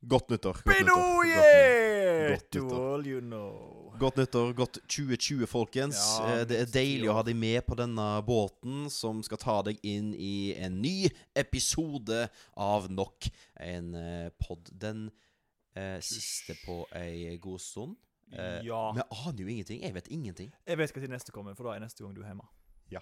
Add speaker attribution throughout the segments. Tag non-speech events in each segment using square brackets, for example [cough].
Speaker 1: Godt nyttår. Godt nyttår.
Speaker 2: Binoye!
Speaker 1: Godt
Speaker 2: To
Speaker 1: nyttår.
Speaker 2: all you know.
Speaker 1: Godt nyttår, godt 2020, folkens.
Speaker 2: Ja,
Speaker 1: Eh, det er
Speaker 2: minst ti
Speaker 1: deilig å
Speaker 2: år.
Speaker 1: ha deg med på denne båten som skal ta deg inn i en ny episode av nok en eh, pod. Den eh, siste på ei god stund. Eh,
Speaker 2: Ja.
Speaker 1: Vi aner jo ingenting. Jeg vet ingenting.
Speaker 2: Jeg vet hva til neste kommer, for da er neste gang du er hjemme.
Speaker 1: Ja.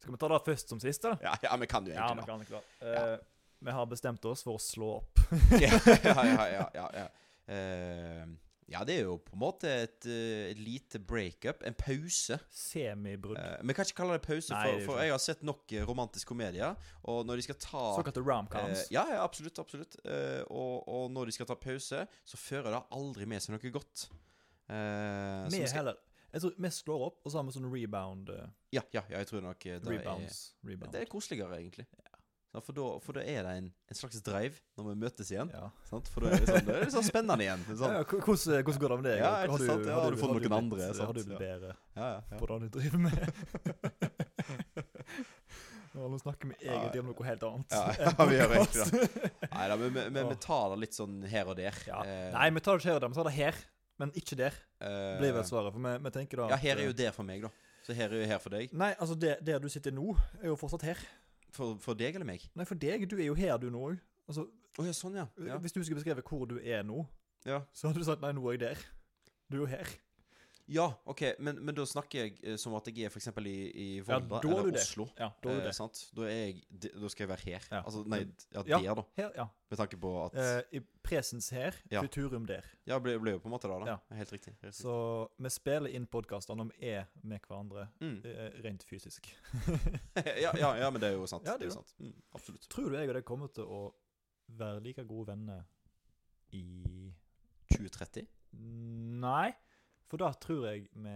Speaker 2: Skal vi ta det først som sist, eller?
Speaker 1: Ja, ja vi kan jo
Speaker 2: Ja, vi
Speaker 1: egentlig det.
Speaker 2: kan ikke det. Eh, Vi har bestemt oss for å slå opp.
Speaker 1: [laughs] Ja, ja, ja, ja, ja, ja. Eh, ja, det er jo på en måte et, eh, et lite breakup. En pause.
Speaker 2: Semibrudd.
Speaker 1: Eh, Vi kan ikke kalle det pause,
Speaker 2: Nei, det
Speaker 1: for,
Speaker 2: er jo
Speaker 1: for
Speaker 2: ikke.
Speaker 1: jeg har sett nok eh, romantisk komedie. Og når de skal ta
Speaker 2: Såkalte
Speaker 1: eh,
Speaker 2: romcoms.
Speaker 1: ja, ja, absolutt. absolutt Eh, og, og når de skal ta pause, så fører det aldri med seg noe godt. Eh, så
Speaker 2: Vi
Speaker 1: vi skal,
Speaker 2: heller Jeg tror vi slår opp, og så har vi sånn rebound. eh,
Speaker 1: ja, ja, ja, jeg tror nok eh, det er,
Speaker 2: Rebounds. Rebound.
Speaker 1: det er koseligere, egentlig. Ja, For, da, for da er det en, en slags drive når vi møtes igjen.
Speaker 2: Ja.
Speaker 1: Sant? For da er det, sånn, det er litt sånn spennende igjen. Det er
Speaker 2: Ja,
Speaker 1: sånn,
Speaker 2: ja, hvordan, hvordan går det med deg?
Speaker 1: Ja, ikke sant? Ja, har du fått noen andre,
Speaker 2: Blitt,
Speaker 1: sant?
Speaker 2: Har du blitt
Speaker 1: Ja.
Speaker 2: bedre
Speaker 1: ja, ja, ja.
Speaker 2: på det du driver med? [laughs] Nå nå snakker vi egentlig om noe helt annet. [laughs]
Speaker 1: Ja, [laughs] ja, altså. vi gjør egentlig det.
Speaker 2: det.
Speaker 1: Nei da, men vi- vi- vi tar det litt sånn her og der.
Speaker 2: Ja.
Speaker 1: Eh,
Speaker 2: [laughs] Nei, vi tar det ikke her, og der, vi tar det her. Men ikke der,
Speaker 1: eh,
Speaker 2: blir vel svaret. For vi, vi tenker da
Speaker 1: Ja,
Speaker 2: at, eh,
Speaker 1: her er jo der for meg, da. Så her er jo her for deg.
Speaker 2: Nei, altså, det, der du sitter nå, er jo fortsatt her.
Speaker 1: For, for deg eller meg?
Speaker 2: Nei, for deg, du er jo her, du nå òg. Altså,
Speaker 1: Å ja, sånn, ja. ja.
Speaker 2: hvis du skulle beskrevet hvor du er nå,
Speaker 1: Ja,
Speaker 2: så hadde du sagt nei, nå er jeg der. Du er jo her.
Speaker 1: ja OK, men, men da snakker jeg eh, som at jeg er f.eks. i, i
Speaker 2: Ja,
Speaker 1: Volda
Speaker 2: da er du
Speaker 1: eller
Speaker 2: der.
Speaker 1: Oslo.
Speaker 2: Ja, da er
Speaker 1: Eh,
Speaker 2: du der.
Speaker 1: sant? Da, er jeg, de- da skal jeg være her.
Speaker 2: Ja.
Speaker 1: Altså, nei, d- ja,
Speaker 2: Ja.
Speaker 1: der, da.
Speaker 2: Her, ja.
Speaker 1: Med tanke på at
Speaker 2: Eh, I presens her,
Speaker 1: Ja.
Speaker 2: futurum der.
Speaker 1: Ja, ble, ble jo på en måte det, da.
Speaker 2: ja.
Speaker 1: Helt riktig. Helt riktig.
Speaker 2: Så vi spiller inn podkaster når vi er med hverandre,
Speaker 1: Mm. [laughs]
Speaker 2: eh, rent fysisk. [laughs]
Speaker 1: ja, ja, ja, men det er jo sant.
Speaker 2: Ja,
Speaker 1: det er
Speaker 2: det
Speaker 1: jo sant. Mm, absolutt.
Speaker 2: Tror du jeg og deg kommer til å være like gode venner i
Speaker 1: 2030?
Speaker 2: Nei, for da tror jeg vi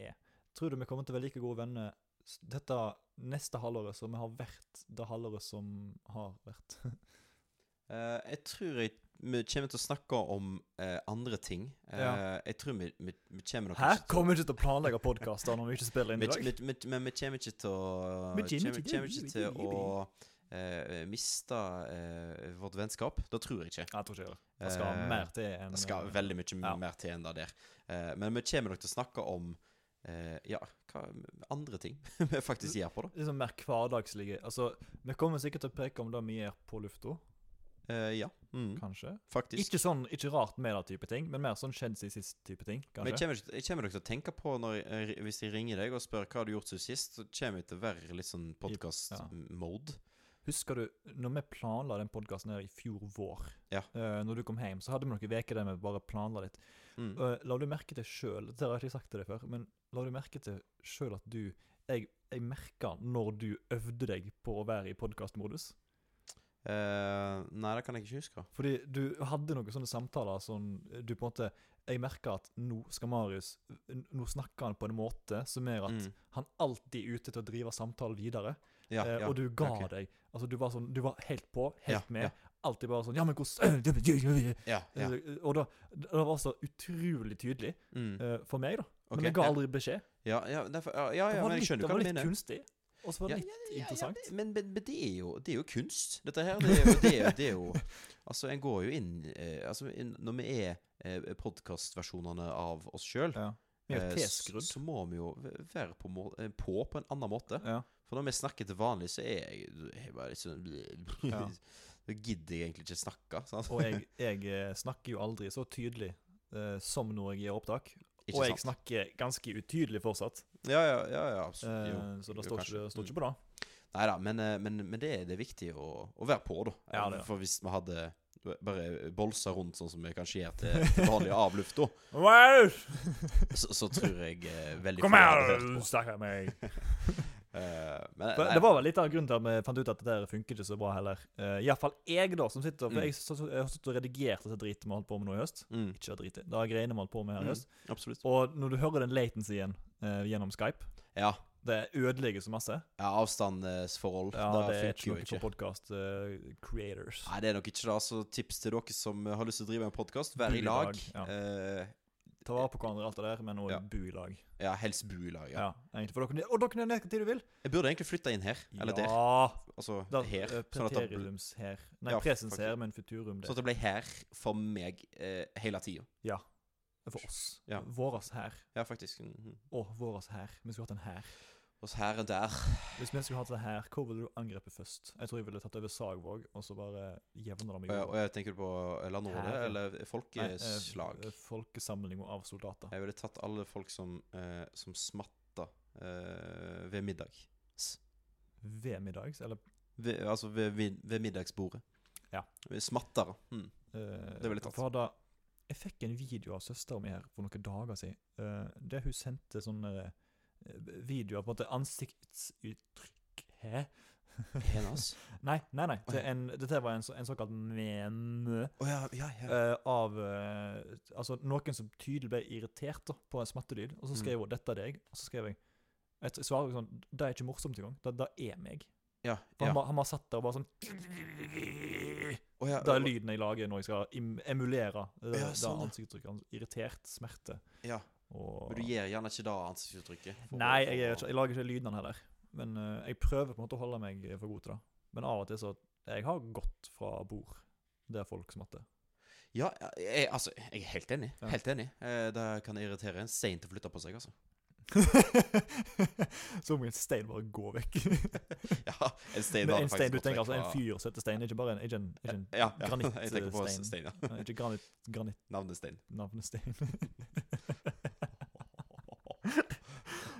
Speaker 2: er. Tror du vi kommer til å være like gode venner s- dette neste halvåret som vi har vært det halvåret som har vært?
Speaker 1: Eh, jeg tror jeg vi kommer til å snakke om eh, andre ting. Eh,
Speaker 2: Ja.
Speaker 1: Jeg tror vi, vi, vi kommer nok
Speaker 2: Hæ?
Speaker 1: ikke til-
Speaker 2: Kommer vi ikke til å planlegge podkaster når vi ikke spiller inn
Speaker 1: Vi
Speaker 2: i dag?
Speaker 1: vi- vi- Men vi kommer ikke til å
Speaker 2: Vi kommer
Speaker 1: kommer-
Speaker 2: ikke til å
Speaker 1: kommer ikke
Speaker 2: gi-
Speaker 1: til
Speaker 2: gi
Speaker 1: å eh, miste eh, vårt vennskap. Det tror jeg ikke.
Speaker 2: Jeg tror ikke jeg det. Det skal
Speaker 1: Eh,
Speaker 2: mer til enn
Speaker 1: Det skal
Speaker 2: eh,
Speaker 1: veldig mye
Speaker 2: ja.
Speaker 1: mer til enn det der. Eh, men vi kommer nok til å snakke om eh, ja, hva, andre ting [laughs] vi faktisk gjør på, da.
Speaker 2: liksom mer hverdagslige Altså, vi kommer sikkert til å preke om det vi gjør på lufta,
Speaker 1: Eh, ja, mm,
Speaker 2: kanskje.
Speaker 1: faktisk.
Speaker 2: Ikke sånn, ikke rart med det type ting, men mer sånn skjedd siden sist type ting,
Speaker 1: Men jeg
Speaker 2: kanskje.
Speaker 1: kommer, ikke- jeg kommer nok til å tenke på når jeg, eh, Hvis jeg ringer deg og spør hva har du gjort siden sist, så kommer jeg til å være litt sånn podkast-mode.
Speaker 2: Husker du, når vi planla den podkasten her i fjor vår,
Speaker 1: Ja.
Speaker 2: eh, når du kom hjem, så hadde vi noen uker der vi bare planla litt.
Speaker 1: Mm.
Speaker 2: Eh, la du merke til sjøl, det har jeg ikke sagt til deg før, men la du merke til sjøl at du Jeg, jeg merka når du øvde deg på å være i podkastmodus.
Speaker 1: Eh, nei, det kan jeg ikke huske.
Speaker 2: Fordi du hadde noen sånne samtaler som du på en måte Jeg merka at nå skal Marius n- Nå snakker han på en måte som gjør at
Speaker 1: Mm.
Speaker 2: han alltid er ute til å drive samtalen videre.
Speaker 1: Ja,
Speaker 2: eh,
Speaker 1: ja.
Speaker 2: og du ga
Speaker 1: ok.
Speaker 2: deg. Altså, du var sånn Du var helt på, helt
Speaker 1: Ja,
Speaker 2: med.
Speaker 1: ja.
Speaker 2: Alltid bare sånn [clears throat] Ja, men hvordan
Speaker 1: Ja, ja.
Speaker 2: Og da Det var så utrolig tydelig
Speaker 1: Mm.
Speaker 2: eh, for meg, da.
Speaker 1: Ok,
Speaker 2: Men jeg ga
Speaker 1: ja.
Speaker 2: aldri beskjed.
Speaker 1: Ja, ja, derfor, ja, ja,
Speaker 2: Det
Speaker 1: ja men
Speaker 2: var
Speaker 1: jeg
Speaker 2: litt-
Speaker 1: skjønner
Speaker 2: det
Speaker 1: hva
Speaker 2: var
Speaker 1: du
Speaker 2: litt
Speaker 1: mener.
Speaker 2: kunstig. Og så var
Speaker 1: Ja,
Speaker 2: det litt interessant.
Speaker 1: det- men, men, men det er jo Det er jo kunst, dette her. Det er jo, det er jo, det er jo [laughs] Altså, en går jo inn eh, Altså, inn, når vi er eh, podkastversjonene av oss sjøl,
Speaker 2: ja. Vi er
Speaker 1: så,
Speaker 2: jo tilskrudd.
Speaker 1: så må vi jo v- være på, må, eh, på på en annen måte.
Speaker 2: Ja.
Speaker 1: For når vi snakker til vanlig, så er jeg, jeg bare litt sånn
Speaker 2: Ja.
Speaker 1: [laughs] Da gidder jeg egentlig ikke snakke. Sant?
Speaker 2: Og jeg, jeg eh, snakker jo aldri så tydelig eh, som når jeg gjør opptak.
Speaker 1: [laughs] Ikke
Speaker 2: og jeg
Speaker 1: sant?
Speaker 2: snakker ganske utydelig fortsatt,
Speaker 1: Ja, ja, ja. ja
Speaker 2: eh,
Speaker 1: absolutt. jo.
Speaker 2: så det
Speaker 1: jo,
Speaker 2: står,
Speaker 1: kanskje. Mm.
Speaker 2: ikke, det står ikke på det.
Speaker 1: Nei da, men, eh, men, men det, er- det er viktig å, å være på, da.
Speaker 2: Ja, det er.
Speaker 1: For hvis vi hadde bare bolsa rundt sånn som vi kanskje gjør til til vanlig av lufta, så, så tror jeg eh, veldig
Speaker 2: Kom
Speaker 1: få
Speaker 2: her,
Speaker 1: hadde hørt på.
Speaker 2: snakk med meg!
Speaker 1: Eh, men,
Speaker 2: For
Speaker 1: nei,
Speaker 2: Det var vel litt av grunnen til at vi fant ut at det der funker ikke så bra heller. Uh, Iallfall jeg, da, som sitter
Speaker 1: Mm.
Speaker 2: For jeg, så, så, jeg har sittet og redigert dette dritet vi har holdt på med nå i høst.
Speaker 1: mm,
Speaker 2: Ikke dritet, det er greiene vi har holdt på med her
Speaker 1: mm,
Speaker 2: i høst.
Speaker 1: Absolutt.
Speaker 2: Og når du hører den latencyen eh, gjennom Skype,
Speaker 1: Ja.
Speaker 2: det ødelegger så masse.
Speaker 1: ja avstandsforhold.
Speaker 2: Ja,
Speaker 1: det,
Speaker 2: det er
Speaker 1: funker jo
Speaker 2: ikke noe
Speaker 1: ikke.
Speaker 2: for podcast eh, creators.
Speaker 1: Nei, det er nok ikke det. Så tips til dere som har lyst til å drive en podkast, vær i
Speaker 2: Bli i
Speaker 1: lag.
Speaker 2: lag, ja.
Speaker 1: Eh,
Speaker 2: Ta vare på hverandre, og alt det der, men òg
Speaker 1: Ja.
Speaker 2: bo i lag.
Speaker 1: Ja, helst bo i lag. Ja.
Speaker 2: Ja. egentlig. For dere, og dere kan ned hva tid du vil.
Speaker 1: Jeg burde egentlig flytta inn her, eller der.
Speaker 2: Ja.
Speaker 1: Altså
Speaker 2: Da,
Speaker 1: her.
Speaker 2: eh,
Speaker 1: Sånn at det, bl-
Speaker 2: Preteriums her. Nei,
Speaker 1: Ja,
Speaker 2: presens
Speaker 1: faktisk.
Speaker 2: her, men futurum
Speaker 1: sånn
Speaker 2: der.
Speaker 1: at det ble her for meg eh, hele tida.
Speaker 2: For oss.
Speaker 1: Ja.
Speaker 2: Våras her.
Speaker 1: Ja, faktisk. mhm.
Speaker 2: Å, våras her. Vi skulle hatt en her.
Speaker 1: Oss her og der.
Speaker 2: Hvis vi skulle hatt en her, hvor ville du angrepet først? Jeg tror jeg ville tatt over Sagvåg, og så bare jevna det
Speaker 1: Og
Speaker 2: med
Speaker 1: jeg, og
Speaker 2: jorda.
Speaker 1: jeg tenker på landordet
Speaker 2: Her.
Speaker 1: eller
Speaker 2: Nei, eh,
Speaker 1: folkeslag.
Speaker 2: eh, Folkesamlinga av soldater.
Speaker 1: Jeg ville tatt alle folk som, eh, som smatta eh, ved middag.
Speaker 2: Vemiddags, eller
Speaker 1: Ved, altså ved, ved, ved middagsbordet.
Speaker 2: Ja.
Speaker 1: Smattere. Mm.
Speaker 2: Eh,
Speaker 1: Det ville jeg tatt.
Speaker 2: For da, jeg fikk en video av søsteren min her for noen dager siden. eh, der hun sendte sånne eh, videoer, på en måte ansiktsuttrykk Hæ? [laughs]
Speaker 1: Penas.
Speaker 2: Nei, nei, nei. Det er en, dette var en, så- en såkalt meme
Speaker 1: Å ja, ja, ja.
Speaker 2: eh, av eh, Altså noen som tydelig ble irritert da, på en smattelyd, og så
Speaker 1: Mm.
Speaker 2: skrev hun 'dette er deg', og så skrev jeg jeg t- svarer sånn 'Det er ikke morsomt engang. Det, det er meg'.
Speaker 1: ja, ja.
Speaker 2: For Han, bare- han bare satt der og bare sånn
Speaker 1: Å ja,
Speaker 2: det er lyden jeg lager når jeg skal im emulere det,
Speaker 1: Ja,
Speaker 2: ja,
Speaker 1: sånn, ja.
Speaker 2: ansiktsuttrykket. Irritert, smerte
Speaker 1: ja.
Speaker 2: og
Speaker 1: Men du gir gjerne ikke det ansiktsuttrykket. for-
Speaker 2: Nei, jeg,
Speaker 1: for-
Speaker 2: er ikke, jeg lager ikke lydene heller. Men eh, jeg prøver på en måte å holde meg for god til det. Men av og til så Jeg har gått fra bord der folk smatter.
Speaker 1: Ja, jeg, altså, jeg er helt enig.
Speaker 2: Ja.
Speaker 1: Helt enig. Eh, det kan irritere en stein til å flytte på seg, altså. [laughs]
Speaker 2: [laughs] så må en stein bare gå vekk. [laughs]
Speaker 1: Ja, en stein
Speaker 2: Men
Speaker 1: hadde
Speaker 2: en
Speaker 1: faktisk
Speaker 2: stein du
Speaker 1: gått
Speaker 2: tenker
Speaker 1: vekk
Speaker 2: altså en
Speaker 1: fra-
Speaker 2: fyr setter stein, ikke bare en, ikke en, ikke en
Speaker 1: Ja, [laughs] ja. jeg tenker på
Speaker 2: granittstein.
Speaker 1: stein, ja.
Speaker 2: Ikke granit,
Speaker 1: Navnestein. [laughs]
Speaker 2: granittnavnestein.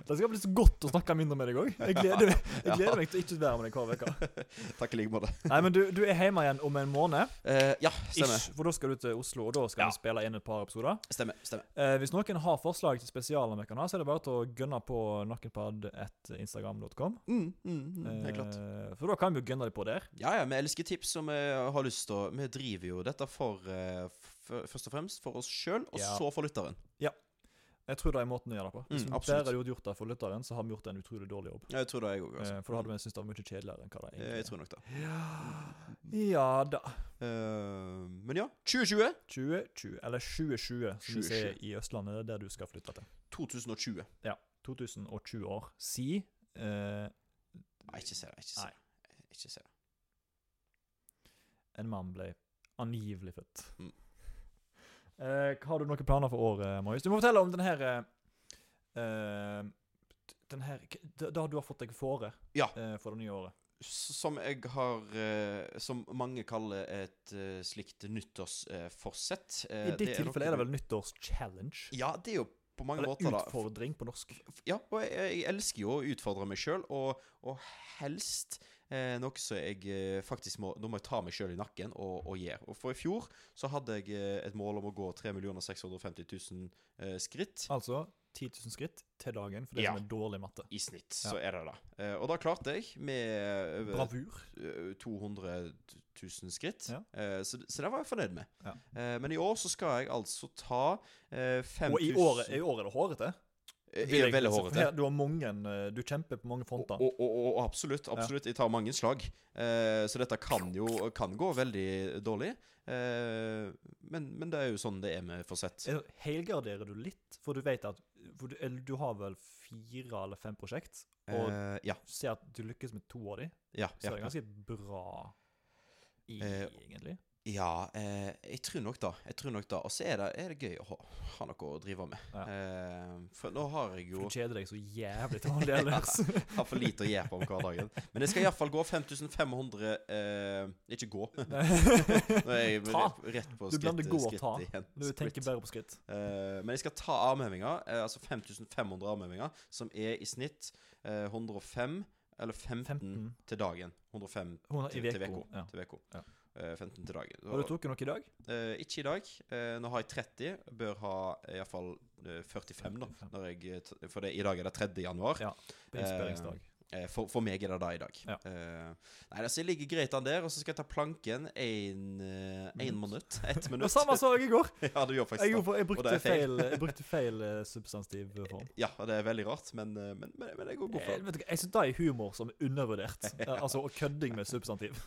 Speaker 2: Det skal bli så godt å snakke mindre med deg òg. Jeg gleder meg, jeg gleder meg til å ikke være med deg hver uke.
Speaker 1: Takk i like måte.
Speaker 2: Nei, men du, du er hjemme igjen om en måned,
Speaker 1: Eh, ja, stemmer.
Speaker 2: ish, for da skal du til Oslo, og da skal
Speaker 1: Ja.
Speaker 2: vi spille inn et par episoder.
Speaker 1: Stemmer. stemmer.
Speaker 2: Eh, hvis noen har forslag til spesialer vi kan ha, så er det bare til å gønne på nakkenpad.instagram.com.
Speaker 1: Mm, mm, mm, helt klart.
Speaker 2: Eh, for da kan vi jo gønne det på der.
Speaker 1: Ja, ja, vi elsker tips, og vi har lyst til å Vi driver jo dette for eh, f- først og fremst for oss sjøl, og
Speaker 2: Ja.
Speaker 1: så for lytteren.
Speaker 2: Jeg tror det er måten å gjøre det på. Hvis
Speaker 1: Mm,
Speaker 2: vi
Speaker 1: absolutt.
Speaker 2: bare hadde gjort det for lytteren, så har vi gjort en utrolig dårlig jobb.
Speaker 1: Jeg tror det, jeg òg. Altså.
Speaker 2: Eh, for da hadde vi syntes det var mye kjedeligere enn hva det
Speaker 1: Eh,
Speaker 2: egentlig
Speaker 1: jeg tror nok det.
Speaker 2: er. Ja da.
Speaker 1: Eh, men ja. 2020.
Speaker 2: 2020, eller 2020, som de
Speaker 1: 2020.
Speaker 2: sier i Østlandet, det er der du skal flytte til.
Speaker 1: 2020.
Speaker 2: 2020 år. Si eh,
Speaker 1: Nei, ikke se det. Ikke se
Speaker 2: Nei.
Speaker 1: det. Ikke se det.
Speaker 2: en mann ble angivelig født.
Speaker 1: Mm.
Speaker 2: Eh, har du noen planer for året, Marius? Du må fortelle om den her eh, eh, den her, k- det det du har fått deg fore
Speaker 1: Ja.
Speaker 2: eh, for det nye året.
Speaker 1: S- Som jeg har eh, Som mange kaller et eh, slikt nyttårsforsett. Eh,
Speaker 2: I ditt tilfelle er det
Speaker 1: noe-
Speaker 2: vel nyttårschallenge?
Speaker 1: Ja, det er jo på mange
Speaker 2: Eller
Speaker 1: måter da,
Speaker 2: utfordring på norsk.
Speaker 1: Ja, og jeg, jeg elsker jo å utfordre meg sjøl, og, og helst eh, noe som jeg eh, faktisk må Nå må jeg ta meg sjøl i nakken og, og gjøre. Og for i fjor så hadde jeg eh, et mål om å gå 3 650 000 eh, skritt.
Speaker 2: Altså 10 000 skritt til dagen for det
Speaker 1: Ja.
Speaker 2: som er dårlig matte.
Speaker 1: I snitt,
Speaker 2: Ja.
Speaker 1: så er det det. Eh, og da klarte jeg med over
Speaker 2: Bravur.
Speaker 1: eh, 200 000 skritt.
Speaker 2: Ja.
Speaker 1: Eh, så, så det var jeg fornøyd med.
Speaker 2: Ja.
Speaker 1: Eh, men i år så skal jeg altså ta eh, 5000
Speaker 2: Og i året, i året er det hårete.
Speaker 1: Jeg er Eh, veldig hårete.
Speaker 2: Her- Du har mange, eh, du kjemper på mange fronter.
Speaker 1: Og, og, og, og absolutt. absolutt, Jeg tar mange slag. Eh, så dette kan jo kan gå veldig dårlig. Eh, men, men det er jo sånn det er med forsett.
Speaker 2: Er- Eh, Helgarderer du litt? For du vet at for du, eller du har vel fire eller fem prosjekt, og
Speaker 1: Eh, ja.
Speaker 2: ser at du lykkes med to av de,
Speaker 1: Ja.
Speaker 2: så
Speaker 1: ja,
Speaker 2: er det
Speaker 1: ja.
Speaker 2: ganske bra i,
Speaker 1: Eh,
Speaker 2: egentlig.
Speaker 1: ja eh, jeg tror nok det. Jeg tror nok det. Og så er, det- er det gøy å ha, ha noe å drive med.
Speaker 2: Ja.
Speaker 1: Eh, for nå har jeg
Speaker 2: For
Speaker 1: jo
Speaker 2: du kjeder deg så jævlig
Speaker 1: [laughs]
Speaker 2: til vanlig [laughs] ellers.
Speaker 1: har for lite å gjøre på om hverdagen. Men jeg skal iallfall gå 5500 eh, Ikke gå. Nå er jeg
Speaker 2: Ta.
Speaker 1: rett på
Speaker 2: Du
Speaker 1: skritt,
Speaker 2: blander gå og
Speaker 1: skritt
Speaker 2: ta.
Speaker 1: igjen.
Speaker 2: Du
Speaker 1: Skritt.
Speaker 2: tenker bare på skritt.
Speaker 1: Eh, men jeg skal ta armhevinger, eh, altså 5500 armhevinger, som er i snitt eh, 105 eller 15,
Speaker 2: 15.
Speaker 1: til dagen. 105
Speaker 2: Hun,
Speaker 1: til
Speaker 2: I
Speaker 1: til
Speaker 2: uka.
Speaker 1: veko.
Speaker 2: Ja.
Speaker 1: Til veko.
Speaker 2: Ja.
Speaker 1: Eh, 15 til dagen.
Speaker 2: Har du trukket noe i dag?
Speaker 1: Eh, ikke i dag. Eh, nå har jeg 30. Bør ha iallfall 45, eh, da.
Speaker 2: 45.
Speaker 1: Når jeg, eh, t- for det, i dag er det 3. januar.
Speaker 2: Ja, på innspillingsdag.
Speaker 1: Eh, For, for meg er det da i dag.
Speaker 2: Ja.
Speaker 1: Eh, nei, altså, jeg ligger greit an der, og så skal jeg ta planken én
Speaker 2: Minutt.
Speaker 1: minutt. [laughs] Ett
Speaker 2: Det
Speaker 1: minutt.
Speaker 2: samme så jeg i går.
Speaker 1: ja, du gjør
Speaker 2: Jeg,
Speaker 1: faktisk det.
Speaker 2: gjorde- jeg,
Speaker 1: det er
Speaker 2: brukte
Speaker 1: feil.
Speaker 2: feil,
Speaker 1: [laughs]
Speaker 2: jeg brukte feil eh, substantiv form.
Speaker 1: Ja, og det er veldig rart, men, eh, men, men, men jeg går god for
Speaker 2: Jeg,
Speaker 1: det.
Speaker 2: vet ikke, jeg syns det er humor som er
Speaker 1: [laughs]
Speaker 2: undervurdert. Eh, Altså og kødding med substantiv.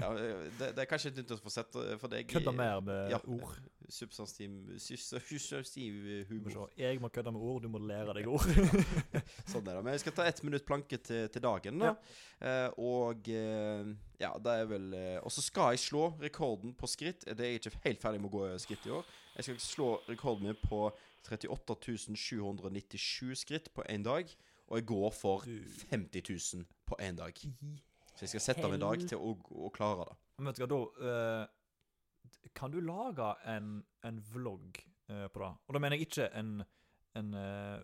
Speaker 1: ja, det. Det er kanskje et nytt å få sett eh, for deg.
Speaker 2: Kødder mer med
Speaker 1: Ja.
Speaker 2: ord.
Speaker 1: Substantiv, substantiv eh,
Speaker 2: Du må
Speaker 1: humor.
Speaker 2: se. Jeg må kødde med ord, du må lære
Speaker 1: [laughs]
Speaker 2: deg ord.
Speaker 1: Sånn er det. Men jeg skal ta ett minutt planke til, til dagen, da. Eh, og eh, ja, det er vel eh, Og så skal jeg slå rekorden på skritt. Det er jeg ikke helt ferdig med å gå skritt i år. Jeg skal slå rekorden min på 38.797 skritt på én dag. Og jeg går for
Speaker 2: Du.
Speaker 1: 50 000 på én dag. Så jeg skal sette av en dag til å, å klare det.
Speaker 2: Men vet du hva, da eh, Kan du lage en, en vlogg eh, på det? Og da mener jeg ikke en en eh,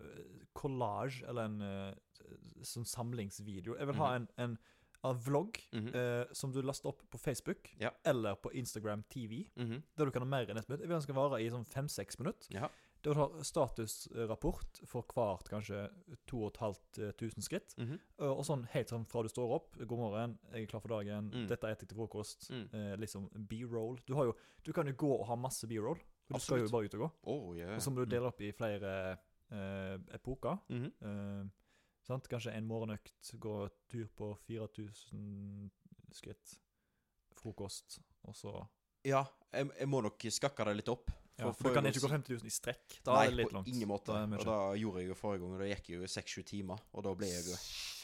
Speaker 2: collage eller en eh, sånn samlingsvideo. Jeg vil ha en, en, en vlogg
Speaker 1: Mhm.
Speaker 2: eh, som du laster opp på Facebook
Speaker 1: Ja.
Speaker 2: eller på Instagram TV.
Speaker 1: Mhm.
Speaker 2: der du kan ha mer enn ett minutt. Jeg vil den skal vare i sånn fem-seks minutter.
Speaker 1: Ja.
Speaker 2: Der du har statusrapport for hvert kanskje 2500 skritt.
Speaker 1: Mhm.
Speaker 2: Eh, Og sånn helt sånn fra du står opp 'God morgen, jeg er klar for dagen.
Speaker 1: Mm.
Speaker 2: Dette er jeg til frokost.'
Speaker 1: Mm.
Speaker 2: Eh, liksom B-roll. Du, har jo, du kan jo gå og ha masse B-roll. for Du skal jo
Speaker 1: Absolutt.
Speaker 2: bare ut og gå.
Speaker 1: Å, ja. Mm.
Speaker 2: Og så må du dele opp i flere eh, epoker.
Speaker 1: Mhm.
Speaker 2: Eh, sant? Kanskje en morgenøkt, gå tur på 4000 skritt, frokost, og så
Speaker 1: Ja, jeg, jeg må nok skakke det litt opp.
Speaker 2: Ja,
Speaker 1: For-
Speaker 2: for
Speaker 1: for
Speaker 2: du kan
Speaker 1: noen
Speaker 2: ikke gå 5000 i strekk. Da
Speaker 1: Nei,
Speaker 2: er det litt
Speaker 1: på
Speaker 2: langt.
Speaker 1: ingen måte.
Speaker 2: Da er det
Speaker 1: og
Speaker 2: mye.
Speaker 1: da gjorde jeg jo forrige gang, og da gikk jeg jo 6-7 timer. Og da ble jeg jo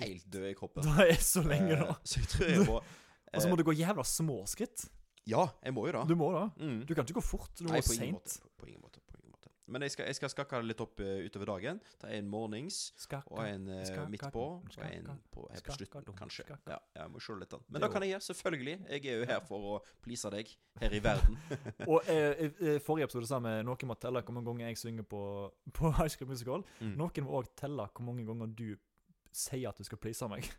Speaker 1: helt død i kroppen.
Speaker 2: Da er det så lenge,
Speaker 1: Eh,
Speaker 2: da.
Speaker 1: [laughs] Så jeg tror jeg må
Speaker 2: [laughs] Og så
Speaker 1: eh,
Speaker 2: må du gå jævla små skritt.
Speaker 1: Ja, jeg må jo da.
Speaker 2: Du må da.
Speaker 1: Mm.
Speaker 2: Du kan ikke gå fort. Du må
Speaker 1: Nei,
Speaker 2: gå
Speaker 1: på ingen,
Speaker 2: seint.
Speaker 1: måte, på ingen måte. På ingen måte. Men jeg skal, jeg skal skakke det litt opp eh, utover dagen. Ta en mornings. Og en eh,
Speaker 2: Skakka,
Speaker 1: midt på, og
Speaker 2: skakka,
Speaker 1: en på, her på
Speaker 2: skakka,
Speaker 1: slutten,
Speaker 2: dum,
Speaker 1: kanskje.
Speaker 2: skakka.
Speaker 1: Ja, jeg må se litt an.
Speaker 2: Det
Speaker 1: Men da
Speaker 2: er
Speaker 1: kan jeg gjøre, selvfølgelig. Jeg er jo her for å please deg, her i verden.
Speaker 2: [laughs] Og eh, eh, forrige episode sa vi noen må telle hvor mange ganger jeg synger på, [laughs] på High School Musical.
Speaker 1: Mm.
Speaker 2: Noen må òg telle hvor mange ganger du sier at du skal please
Speaker 1: [laughs]
Speaker 2: meg.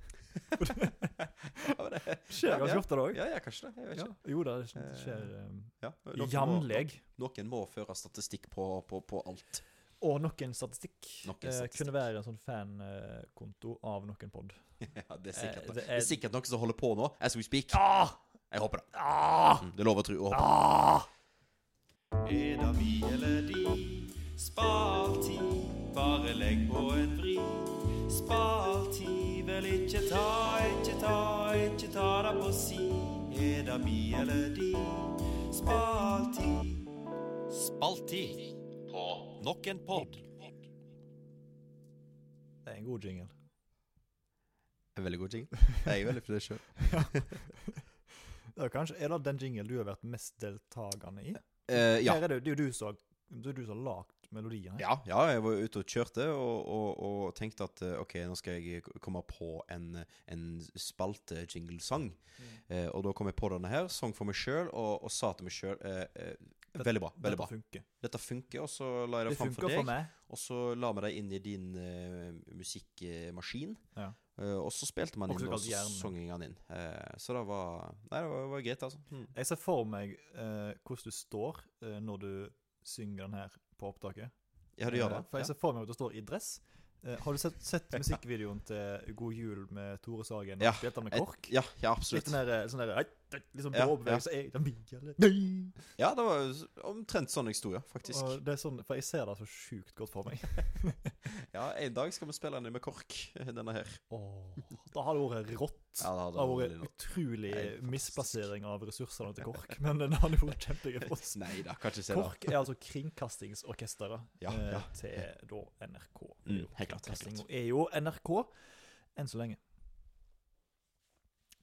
Speaker 1: [laughs] Ja, men det,
Speaker 2: [laughs] Skjer
Speaker 1: Ja,
Speaker 2: ganske
Speaker 1: ja.
Speaker 2: ofte, det òg.
Speaker 1: ja, ja, kanskje det. Jeg vet ikke.
Speaker 2: Jo da, det
Speaker 1: Eh,
Speaker 2: skjer um,
Speaker 1: Ja, noen må-
Speaker 2: jevnlig.
Speaker 1: Noen må føre statistikk på, på, på alt.
Speaker 2: Og noen statistikk,
Speaker 1: Noen
Speaker 2: eh,
Speaker 1: statistikk.
Speaker 2: kunne være en sånn fankonto av noen pod.
Speaker 1: [laughs] Ja, det er
Speaker 2: Eh,
Speaker 1: sikkert,
Speaker 2: det
Speaker 1: det
Speaker 2: er-
Speaker 1: er sikkert noen som holder på nå, as we speak.
Speaker 2: Ah!
Speaker 1: Jeg håper det.
Speaker 2: Ah!
Speaker 1: Mm, Det lover å tro. og håpe.
Speaker 2: Ah!
Speaker 3: Er det vi eller de? Spar tid, bare legg på en vri. Spar tid, vel ikke ta, ikke ta, ikke ta det på si. Er det vi eller de? Spar tid. Spaltid på nok en pod.
Speaker 2: Det er en god jingle.
Speaker 1: En veldig
Speaker 2: [laughs]
Speaker 1: god jingle. Jeg er veldig fornøyd sjøl.
Speaker 2: Det er, kanskje, er det den jingle du har vært mest deltakende i?
Speaker 1: Eh, ja.
Speaker 2: Her er det, jo- det er jo du som det er jo du som har lagd melodien. her.
Speaker 1: Ja, ja, jeg var ute og kjørte og, og, og tenkte at eh, OK, nå skal jeg k- komme på en, en spalte-jinglesang.
Speaker 2: Mm.
Speaker 1: Eh, og da kom jeg på denne her, sang for meg sjøl, og, og sa til meg sjøl eh, eh, Veldig bra. veldig bra.
Speaker 2: Dette funker.
Speaker 1: Dette funker, og så la jeg det,
Speaker 2: Det
Speaker 1: fram
Speaker 2: funker
Speaker 1: for deg.
Speaker 2: for meg.
Speaker 1: Og så la vi det inn i din eh, musikkmaskin.
Speaker 2: Ja.
Speaker 1: Eh, og så spilte man
Speaker 2: Også
Speaker 1: inn, og
Speaker 2: kalt
Speaker 1: så
Speaker 2: hjernen.
Speaker 1: sang jeg den inn. Eh, så det var Nei, det var, var greit, altså. Mm.
Speaker 2: Jeg ser for meg eh, hvordan du står eh, når du synger den her på opptaket.
Speaker 1: Ja, du gjør
Speaker 2: Eh,
Speaker 1: det?
Speaker 2: for jeg
Speaker 1: Ja.
Speaker 2: ser for meg at du står i dress. Eh, har du sett, sett musikkvideoen til God jul med Tore Sagen? og
Speaker 1: Ja,
Speaker 2: Spilte han med
Speaker 1: Et-
Speaker 2: kork?
Speaker 1: Ja, ja,
Speaker 2: Litt
Speaker 1: absolutt.
Speaker 2: den der, eh, sånn der, liksom
Speaker 1: Ja,
Speaker 2: bråbevegelse. Ja, ja.
Speaker 1: Ja, det var s- omtrent sånn jeg sto, ja, faktisk.
Speaker 2: Og det er sånn, for jeg ser det så sjukt godt for
Speaker 1: [laughs]
Speaker 2: meg.
Speaker 1: Ja, en dag skal vi spille den med kork, [laughs] denne her.
Speaker 2: Åh, da har det vært rått.
Speaker 1: Ja, det
Speaker 2: Det har
Speaker 1: hadde
Speaker 2: vært
Speaker 1: vært
Speaker 2: utrolig
Speaker 1: Nei, fantastisk.
Speaker 2: misplassering av ressursene
Speaker 1: [laughs]
Speaker 2: til KORK, men det hadde vært kjempegøy for oss.
Speaker 1: Nei da, kan ikke se det.
Speaker 2: KORK er altså kringkastingsorkesteret
Speaker 1: Ja,
Speaker 2: eh,
Speaker 1: ja.
Speaker 2: til da NRK.
Speaker 1: Mm, helt klart, helt
Speaker 2: Kringkasting
Speaker 1: klart.
Speaker 2: er jo NRK enn så lenge.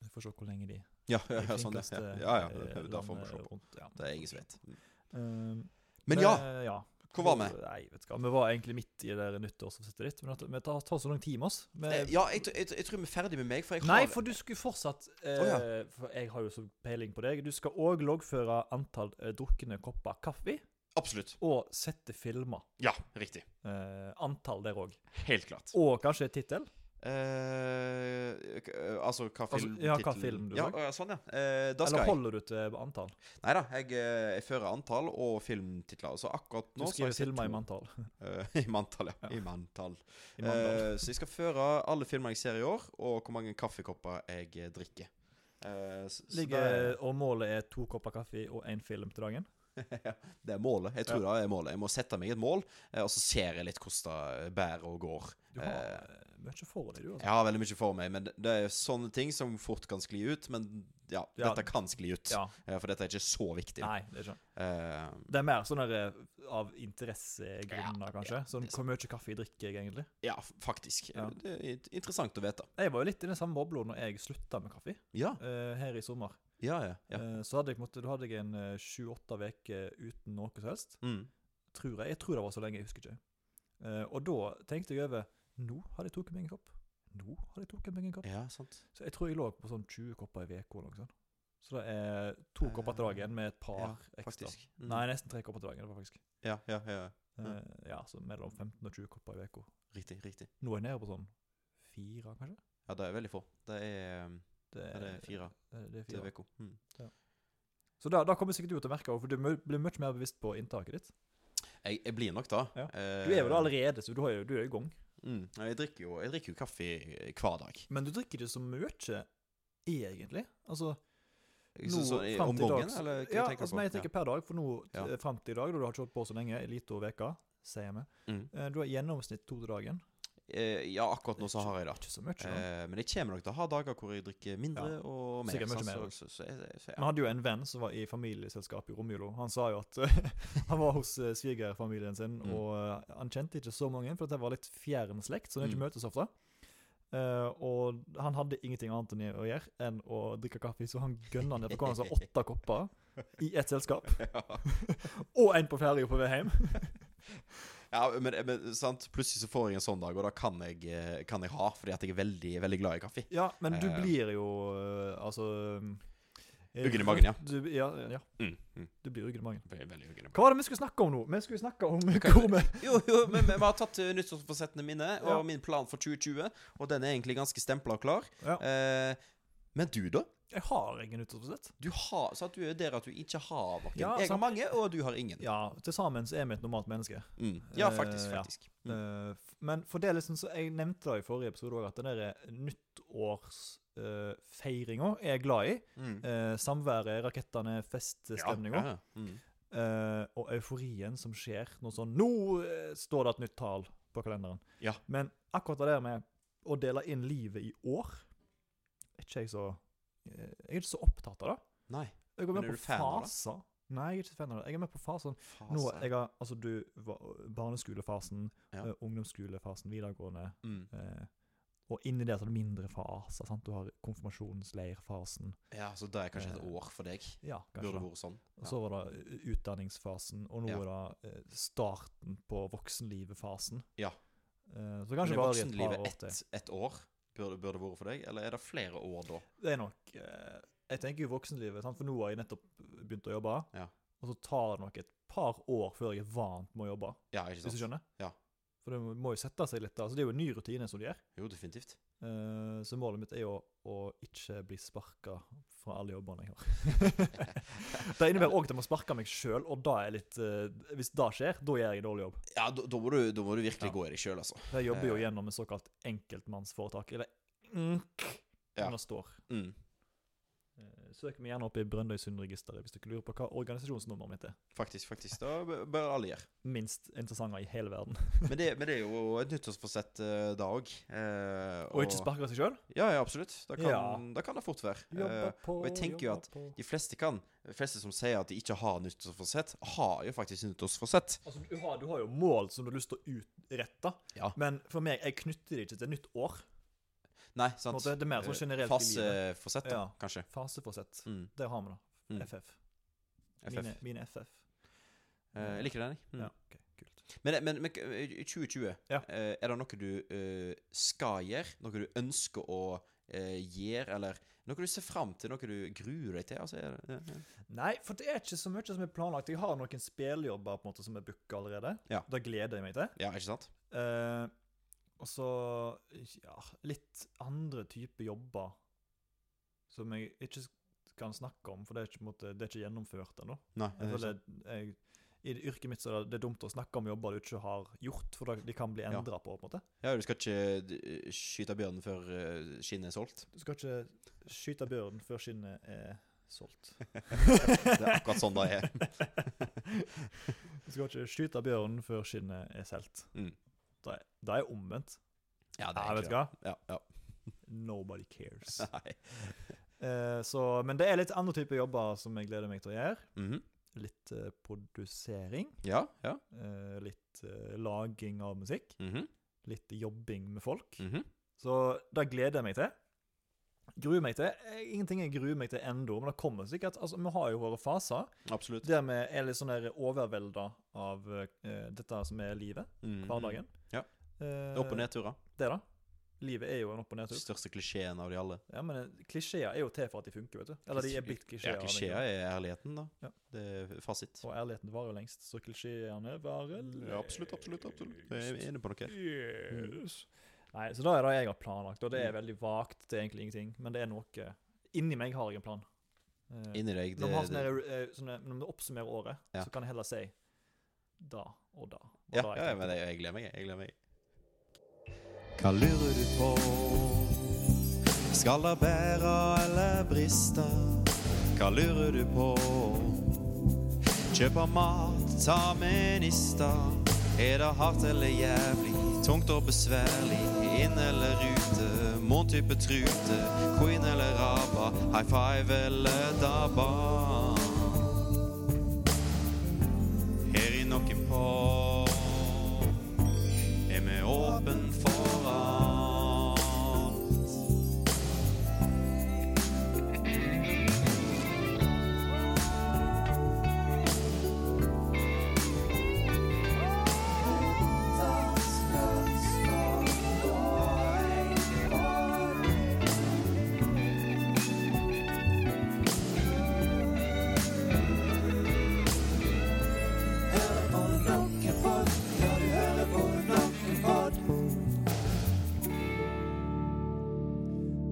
Speaker 2: Vi får se hvor lenge de
Speaker 1: Ja, [laughs] ja, ja, sånn, ja.
Speaker 2: kringkaster
Speaker 1: ja, ja
Speaker 2: eh,
Speaker 1: det- det får vi se
Speaker 2: landet
Speaker 1: på.
Speaker 2: rundt. Ja.
Speaker 1: Det er ingen som vet.
Speaker 2: Um,
Speaker 1: Men ja,
Speaker 2: eh, ja.
Speaker 1: hvor var vi?
Speaker 2: Nei, vet ikke hva. Vi var egentlig midt i det der nyttårsforsettet ditt, men at- men det tar, tar så lang tid med oss. Vi-
Speaker 1: Eh, Ja, jeg, tr- jeg, tr- jeg tror vi er ferdig med meg, for jeg har
Speaker 2: Nei, for du skulle fortsatt eh,
Speaker 1: Å,
Speaker 2: For jeg har jo så peiling på deg. Du skal òg loggføre antall eh, drukne kopper kaffe
Speaker 1: Absolutt.
Speaker 2: og sette filmer.
Speaker 1: Ja, riktig.
Speaker 2: Eh, antall der òg.
Speaker 1: Helt klart.
Speaker 2: Og kanskje tittel.
Speaker 1: Eh, k- eh, altså hva
Speaker 2: Altså,
Speaker 1: film
Speaker 2: ja, hva
Speaker 1: tittelen-
Speaker 2: film du
Speaker 1: ja,
Speaker 2: så.
Speaker 1: å, ja, sånn, ja. Eh, da skal
Speaker 2: Eller
Speaker 1: jeg.
Speaker 2: holder du til antall?
Speaker 1: Nei da, jeg, eh, jeg fører antall og filmtitler. Så akkurat
Speaker 2: Du
Speaker 1: nå så har
Speaker 2: skriver
Speaker 1: jeg sett
Speaker 2: filmer i
Speaker 1: to.
Speaker 2: manntall.
Speaker 1: Eh, [laughs] I manntall, ja.
Speaker 2: Ja.
Speaker 1: I manntall.
Speaker 2: I manntall.
Speaker 1: Eh, så jeg skal føre alle filmer jeg ser i år, og hvor mange kaffekopper jeg eh, drikker. Eh, s- så
Speaker 2: Ligger, og målet er to kopper kaffe og én film til dagen?
Speaker 1: det, det er målet. Jeg tror det er målet. Jeg må sette meg et mål, eh, og så ser jeg litt hvordan det bærer og går.
Speaker 2: Du har eh, mye for deg, du. altså.
Speaker 1: Jeg har veldig mye for meg, men det- det er sånne ting som fort kan skli ut. Men ja,
Speaker 2: Ja.
Speaker 1: dette kan skli ut,
Speaker 2: Ja.
Speaker 1: Eh, for dette er ikke så viktig.
Speaker 2: Nei, det er ikke
Speaker 1: Eh,
Speaker 2: Det er mer sånn der, eh, av interessegrunner, kanskje. Sånn,
Speaker 1: det er
Speaker 2: Hvor mye kaffe drikker jeg egentlig?
Speaker 1: ja, f- faktisk.
Speaker 2: Ja.
Speaker 1: Det er int- interessant å vite.
Speaker 2: Jeg var jo litt i den samme bobla når jeg slutta med kaffe
Speaker 1: Ja,
Speaker 2: eh, her i sommer.
Speaker 1: ja, ja. ja.
Speaker 2: Eh, så hadde jeg, på en måte- da hadde jeg en eh, sju-åtte uker uten noe som helst.
Speaker 1: Mm.
Speaker 2: Tror jeg. jeg tror det var så lenge, jeg husker ikke. Eh, og da tenkte jeg over Nå har jeg tatt meg en kopp. Nå har jeg tatt meg en kopp.
Speaker 1: ja sant.
Speaker 2: Så jeg tror jeg lå på sånn 20 kopper i uka eller noe sånt. Så det er to kopper til dagen med et par
Speaker 1: Eh, Ja,
Speaker 2: ekstra.
Speaker 1: Faktisk. Mm.
Speaker 2: Nei, nesten tre kopper til dagen. det var faktisk.
Speaker 1: Ja, ja, ja.
Speaker 2: Eh, ja, så mellom 15 og 20 kopper i uka.
Speaker 1: Riktig, riktig.
Speaker 2: Nå er jeg nede på sånn fire, kanskje?
Speaker 1: Ja, det er veldig få. Det er, um,
Speaker 2: Det
Speaker 1: ja, det er fire
Speaker 2: Det er, det er
Speaker 1: til
Speaker 2: Eh, fire.
Speaker 1: uka. Mm.
Speaker 2: Så da, da kommer sikkert du til å merke det, for du mø- blir mye mer bevisst på inntaket ditt.
Speaker 1: Jeg, jeg blir nok da. Eh,
Speaker 2: Ja. Du er jo det allerede, så du, har jo, du er jo i gang.
Speaker 1: Mm. Ja, Jeg drikker jo, jeg drikker jo kaffe eh, hver dag.
Speaker 2: Men du drikker ikke så mye, egentlig. Altså,
Speaker 1: Jeg synes
Speaker 2: nå,
Speaker 1: sånn, eh,
Speaker 2: frem
Speaker 1: om
Speaker 2: til i dag,
Speaker 1: morgenen,
Speaker 2: så-
Speaker 1: eller hva
Speaker 2: ja,
Speaker 1: tenker du
Speaker 2: altså,
Speaker 1: på?
Speaker 2: Nei, jeg tenker per dag, for nå
Speaker 1: Ja.
Speaker 2: ja. frem til i dag, da du har ikke holdt på så lenge, i lite over veka, sier jeg meg,
Speaker 1: ja. Mm.
Speaker 2: eh, du har i gjennomsnitt to til dagen.
Speaker 1: Eh, ja, akkurat nå så har jeg det.
Speaker 2: Ikke så mye, da.
Speaker 1: Eh, men jeg kommer nok til å ha dager hvor jeg drikker mindre
Speaker 2: Ja.
Speaker 1: og mer.
Speaker 2: Sikkert mye
Speaker 1: sant?
Speaker 2: mer
Speaker 1: Så,
Speaker 2: også.
Speaker 1: så, så, jeg- så,
Speaker 2: Vi
Speaker 1: ja.
Speaker 2: hadde jo en venn som var i familieselskap i romjula. Han sa jo at [laughs] eh, han var hos eh, svigerfamilien sin,
Speaker 1: Mm.
Speaker 2: og eh, han kjente ikke så mange, for det var litt fjern slekt, så han ikke
Speaker 1: Mm.
Speaker 2: møtes ofte. Eh, og han hadde ingenting annet enn å gjøre enn å drikke kaffe, så han gønna ned på hva han sa, åtte kopper i ett [laughs] selskap. og en på ferja på vei hjem.
Speaker 1: ja, men, men sant? plutselig så får jeg en sånn dag, og da kan jeg, eh, kan jeg ha, fordi at jeg er veldig, veldig glad i kaffe.
Speaker 2: Ja, men du
Speaker 1: Eh.
Speaker 2: blir jo eh, altså eh,
Speaker 1: Uggen i magen, ja.
Speaker 2: Du, ja, ja.
Speaker 1: Mm. Mm.
Speaker 2: Du blir uggen i magen.
Speaker 1: Veldig, veldig hyggelig.
Speaker 2: Hva var det vi skulle snakke om nå? Vi skulle snakke om hvor vi
Speaker 1: Jo, jo, men vi har tatt eh, nyttårsforsettene mine og
Speaker 2: Ja.
Speaker 1: min plan for 2020, og den er egentlig ganske stempla og klar.
Speaker 2: Ja.
Speaker 1: Eh, men du, da?
Speaker 2: Jeg har ingen utholdsforsett.
Speaker 1: Du har, så at du er der at du ikke har noen.
Speaker 2: Ja,
Speaker 1: jeg har
Speaker 2: sant.
Speaker 1: mange, og du har ingen. Ja,
Speaker 2: Ja, til sammen så er vi et normalt menneske.
Speaker 1: mm. ja faktisk.
Speaker 2: Eh, ja.
Speaker 1: faktisk. Mm.
Speaker 2: Eh, f- men for det liksom, så jeg nevnte det i forrige episode òg, at den der eh, nyttårsfeiringa er jeg glad i.
Speaker 1: Mm.
Speaker 2: Eh, samværet, rakettene, feststemninga.
Speaker 1: Ja, ja, Mm.
Speaker 2: eh, og euforien som skjer når sånn Nå eh, står det et nytt tall på kalenderen.
Speaker 1: Ja.
Speaker 2: Men akkurat det der med å dele inn livet i år er ikke jeg så eh, Jeg er ikke så opptatt av det.
Speaker 1: Nei.
Speaker 2: Jeg går
Speaker 1: Men
Speaker 2: mer
Speaker 1: er
Speaker 2: på
Speaker 1: du fan av det?
Speaker 2: faser. Nei, jeg er ikke fan av det. Jeg er mer på fasen
Speaker 1: Faen,
Speaker 2: Nå,
Speaker 1: sa jeg.
Speaker 2: jeg har, altså du, var- Barneskolefasen,
Speaker 1: Ja.
Speaker 2: eh, ungdomsskolefasen, videregående
Speaker 1: mm.
Speaker 2: eh, Og inni det så er det mindre faser. sant? Du har konfirmasjonsleirfasen.
Speaker 1: Ja, så det er kanskje et
Speaker 2: Eh,
Speaker 1: år for deg.
Speaker 2: Ja,
Speaker 1: Burde
Speaker 2: kanskje da.
Speaker 1: vært sånn.
Speaker 2: Og så var det eh, utdanningsfasen, og nå
Speaker 1: Ja.
Speaker 2: er det eh, starten på voksenlivet-fasen.
Speaker 1: Ja.
Speaker 2: Eh, så
Speaker 1: Men er
Speaker 2: kanskje bare i et par
Speaker 1: voksenlivet
Speaker 2: år til.
Speaker 1: ett et år? Burde, burde vært for deg, eller er det flere år da?
Speaker 2: Det er nok eh, Jeg tenker jo voksenlivet, sant? for nå har jeg nettopp begynt å jobbe.
Speaker 1: Ja.
Speaker 2: Og så tar det nok et par år før jeg er vant med å jobbe,
Speaker 1: Ja, ikke
Speaker 2: hvis du
Speaker 1: sant?
Speaker 2: skjønner?
Speaker 1: Ja.
Speaker 2: For det må- må jo sette seg litt da. Altså, det er jo en ny rutine som du gjør.
Speaker 1: Jo, definitivt.
Speaker 2: Eh, Så målet mitt er jo å ikke bli sparka fra alle jobbene jeg har. [laughs] det innebærer òg at jeg må sparke meg sjøl, og da er jeg litt eh, Hvis det skjer, da gjør jeg en dårlig jobb.
Speaker 1: Ja, da, da, må, du, da må du virkelig
Speaker 2: Ja.
Speaker 1: gå i deg sjøl, altså.
Speaker 2: Jeg jobber jo
Speaker 1: Eh.
Speaker 2: gjennom et såkalt enkeltmannsforetak. Eller NK,
Speaker 1: Ja.
Speaker 2: som det står.
Speaker 1: Mm.
Speaker 2: Eh, Søk meg gjerne opp i Brønnøysundregisteret hvis dere lurer på hva organisasjonsnummeret mitt er.
Speaker 1: Faktisk, faktisk. Da b- bør alle gjøre.
Speaker 2: Minst interessante i hele verden. [laughs]
Speaker 1: Men det, men det er jo et nyttårsforsett eh, da òg. Eh,
Speaker 2: Og ikke sparke seg sjøl.
Speaker 1: Ja, ja, absolutt. Da kan,
Speaker 2: Ja.
Speaker 1: da kan det fort være. Eh,
Speaker 2: på,
Speaker 1: jeg tenker jo
Speaker 2: jobber
Speaker 1: at
Speaker 2: på.
Speaker 1: de fleste kan. De fleste som sier at de ikke har nyttårsforsett, har jo faktisk nyttårsforsett.
Speaker 2: Altså, du, har, du har jo mål som du har lyst til å utrette,
Speaker 1: Ja.
Speaker 2: men for meg, jeg knytter det ikke til nytt år.
Speaker 1: Nei,
Speaker 2: På en
Speaker 1: sant. Eh,
Speaker 2: måte, det er mer sånn generelt i livet.
Speaker 1: Faseforsett, da,
Speaker 2: Ja.
Speaker 1: kanskje.
Speaker 2: Faseforsett.
Speaker 1: Mm.
Speaker 2: Der har vi det.
Speaker 1: Mm.
Speaker 2: FF.
Speaker 1: FF.
Speaker 2: Mine, mine FF.
Speaker 1: Eh, jeg liker den, jeg. Mm.
Speaker 2: Ja, ok, kult.
Speaker 1: Men, men, men eh, 2020,
Speaker 2: Ja.
Speaker 1: eh, er det noe du eh, skal gjøre? Noe du ønsker å eh, gjøre, eller noe du ser fram til, noe du gruer deg til? Altså, er det, ja, ja.
Speaker 2: Nei, for det er ikke så mye som er planlagt. Jeg har noen spillejobber på en måte som er booka allerede.
Speaker 1: Ja.
Speaker 2: Det gleder jeg meg til.
Speaker 1: ja, ikke sant?
Speaker 2: Eh, Og så ja, litt andre typer jobber som jeg ikke s- kan snakke om, for det er ikke, på en måte, det er ikke gjennomført ennå.
Speaker 1: Nei,
Speaker 2: Jeg
Speaker 1: det er
Speaker 2: føler jeg, I det yrket mitt så er det, det er dumt å snakke om jobber du ikke har gjort, for da- de kan bli
Speaker 1: Ja.
Speaker 2: endra på. på en måte.
Speaker 1: Ja, du skal ikke d- skyte bjørnen før eh, skinnet er [laughs] solgt.
Speaker 2: Du skal ikke skyte bjørn før skinnet er [laughs] solgt.
Speaker 1: Det er akkurat sånn det er.
Speaker 2: Du skal ikke skyte bjørn før skinnet er solgt.
Speaker 1: Mm.
Speaker 2: Det er- det er omvendt.
Speaker 1: Ja, det
Speaker 2: Ja,
Speaker 1: er
Speaker 2: vet du
Speaker 1: egentlig
Speaker 2: hva?
Speaker 1: det. Ja, ja.
Speaker 2: Nobody [laughs] cares.
Speaker 1: Nei.
Speaker 2: Eh, så, men det er litt andre typer jobber som jeg gleder meg til å gjøre.
Speaker 1: Mhm.
Speaker 2: Litt eh, produsering.
Speaker 1: Ja, ja.
Speaker 2: eh, litt eh, laging av musikk.
Speaker 1: Mhm,
Speaker 2: Litt jobbing med folk.
Speaker 1: mhm.
Speaker 2: Så det gleder jeg meg til. Gruer meg til. Eh, Ingenting jeg gruer meg til ennå, men det kommer sikkert. Altså, vi har jo våre faser
Speaker 1: Absolutt.
Speaker 2: der vi er litt sånn der overvelda av eh, dette som er livet.
Speaker 1: Mhm.
Speaker 2: Hverdagen.
Speaker 1: Ja.
Speaker 2: Eh,
Speaker 1: Opp- og nedturer.
Speaker 2: Det, da. Livet er jo en opp- og nedtur.
Speaker 1: Største klisjeen av de alle.
Speaker 2: Ja, men eh, klisjeer er jo til for at de funker, vet du. Eller de er blitt
Speaker 1: Ja,
Speaker 2: klisjeer. av en
Speaker 1: klisjeer
Speaker 2: grunn.
Speaker 1: er ærligheten, da.
Speaker 2: Ja.
Speaker 1: Det er fasit.
Speaker 2: Og ærligheten varer jo lengst, så klisjeene varer
Speaker 1: Ja, absolutt, absolutt. absolutt. Jeg er inne på noe.
Speaker 2: Yes. Mm. Nei, så da er det jeg har planlagt, og det
Speaker 1: Mm.
Speaker 2: er veldig vagt. Det er egentlig ingenting, men det er noe Inni meg har jeg en plan. Eh,
Speaker 1: Inni deg,
Speaker 2: når, vi har sånne,
Speaker 1: det,
Speaker 2: eh, sånne, når vi oppsummerer året,
Speaker 1: Ja.
Speaker 2: så kan jeg heller si da og da. Og
Speaker 1: Ja,
Speaker 2: da
Speaker 1: ja,
Speaker 2: tenkte
Speaker 1: men
Speaker 2: på.
Speaker 1: jeg, jeg gleder meg. jeg- Jeg gleder meg.
Speaker 3: Hva lurer du på? Skal det bære eller briste? Hva lurer du på? Kjøper mat, ta med nista. Er det hardt eller jævlig? Tungt og besværlig? Inn eller ute? Mon type trute? Queen eller raba? High five eller dabba? Her i noen på er vi åpen for alt.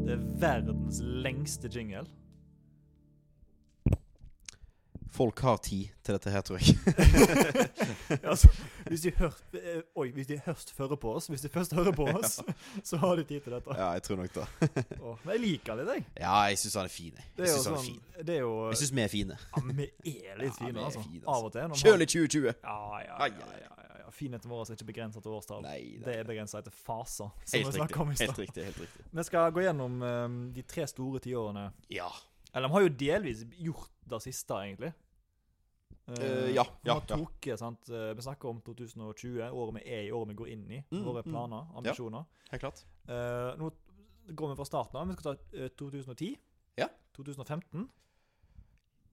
Speaker 2: Det er verdens lengste
Speaker 1: [laughs]
Speaker 2: jingle.
Speaker 1: Folk har tid til dette her, tror
Speaker 2: [laughs]
Speaker 1: jeg.
Speaker 2: altså, hvis de hørt eh, Oi, hvis de først hører på oss, hvis de først hører
Speaker 1: [laughs]
Speaker 2: på oss, så har de tid til dette.
Speaker 1: Ja, jeg tror nok det.
Speaker 2: Åh, men jeg liker litt, jeg.
Speaker 1: Ja, jeg syns han er fin. jeg.
Speaker 2: Det
Speaker 1: Jeg
Speaker 2: er jo
Speaker 1: syns han er
Speaker 2: sånn
Speaker 1: fin.
Speaker 2: Det er jo
Speaker 1: Jeg syns vi er fine.
Speaker 2: Ja, men vi
Speaker 1: [laughs]
Speaker 2: er litt
Speaker 1: Ja, vi
Speaker 2: fine,
Speaker 1: er
Speaker 2: altså.
Speaker 1: fine, altså.
Speaker 2: Av og til. når man-
Speaker 1: Sjøl i 2020.
Speaker 2: Ja, ja,
Speaker 1: Ai,
Speaker 2: ja,
Speaker 1: ai, ai.
Speaker 2: ja, ja, ja. Finheten vår er ikke begrensa til årstall.
Speaker 1: Nei,
Speaker 2: det
Speaker 1: nei.
Speaker 2: er begrensa etter faser, som vi
Speaker 1: Helt
Speaker 2: snakka om i
Speaker 1: riktig. Helt
Speaker 2: stad.
Speaker 1: riktig. helt riktig.
Speaker 2: Vi skal gå gjennom eh, de tre store tiårene.
Speaker 1: Ja.
Speaker 2: Eller de har jo delvis gjort det siste, egentlig.
Speaker 1: Eh, ja,
Speaker 2: for
Speaker 1: ja,
Speaker 2: vi
Speaker 1: ja.
Speaker 2: tok, sant? eh, Vi snakker om 2020, året vi er i, året vi går inn i.
Speaker 1: Mm,
Speaker 2: våre
Speaker 1: mm.
Speaker 2: planer, ambisjoner.
Speaker 1: Helt klart.
Speaker 2: Eh, nå går vi fra starten av. Vi skal ta eh, 2010.
Speaker 1: Ja.
Speaker 2: 2015.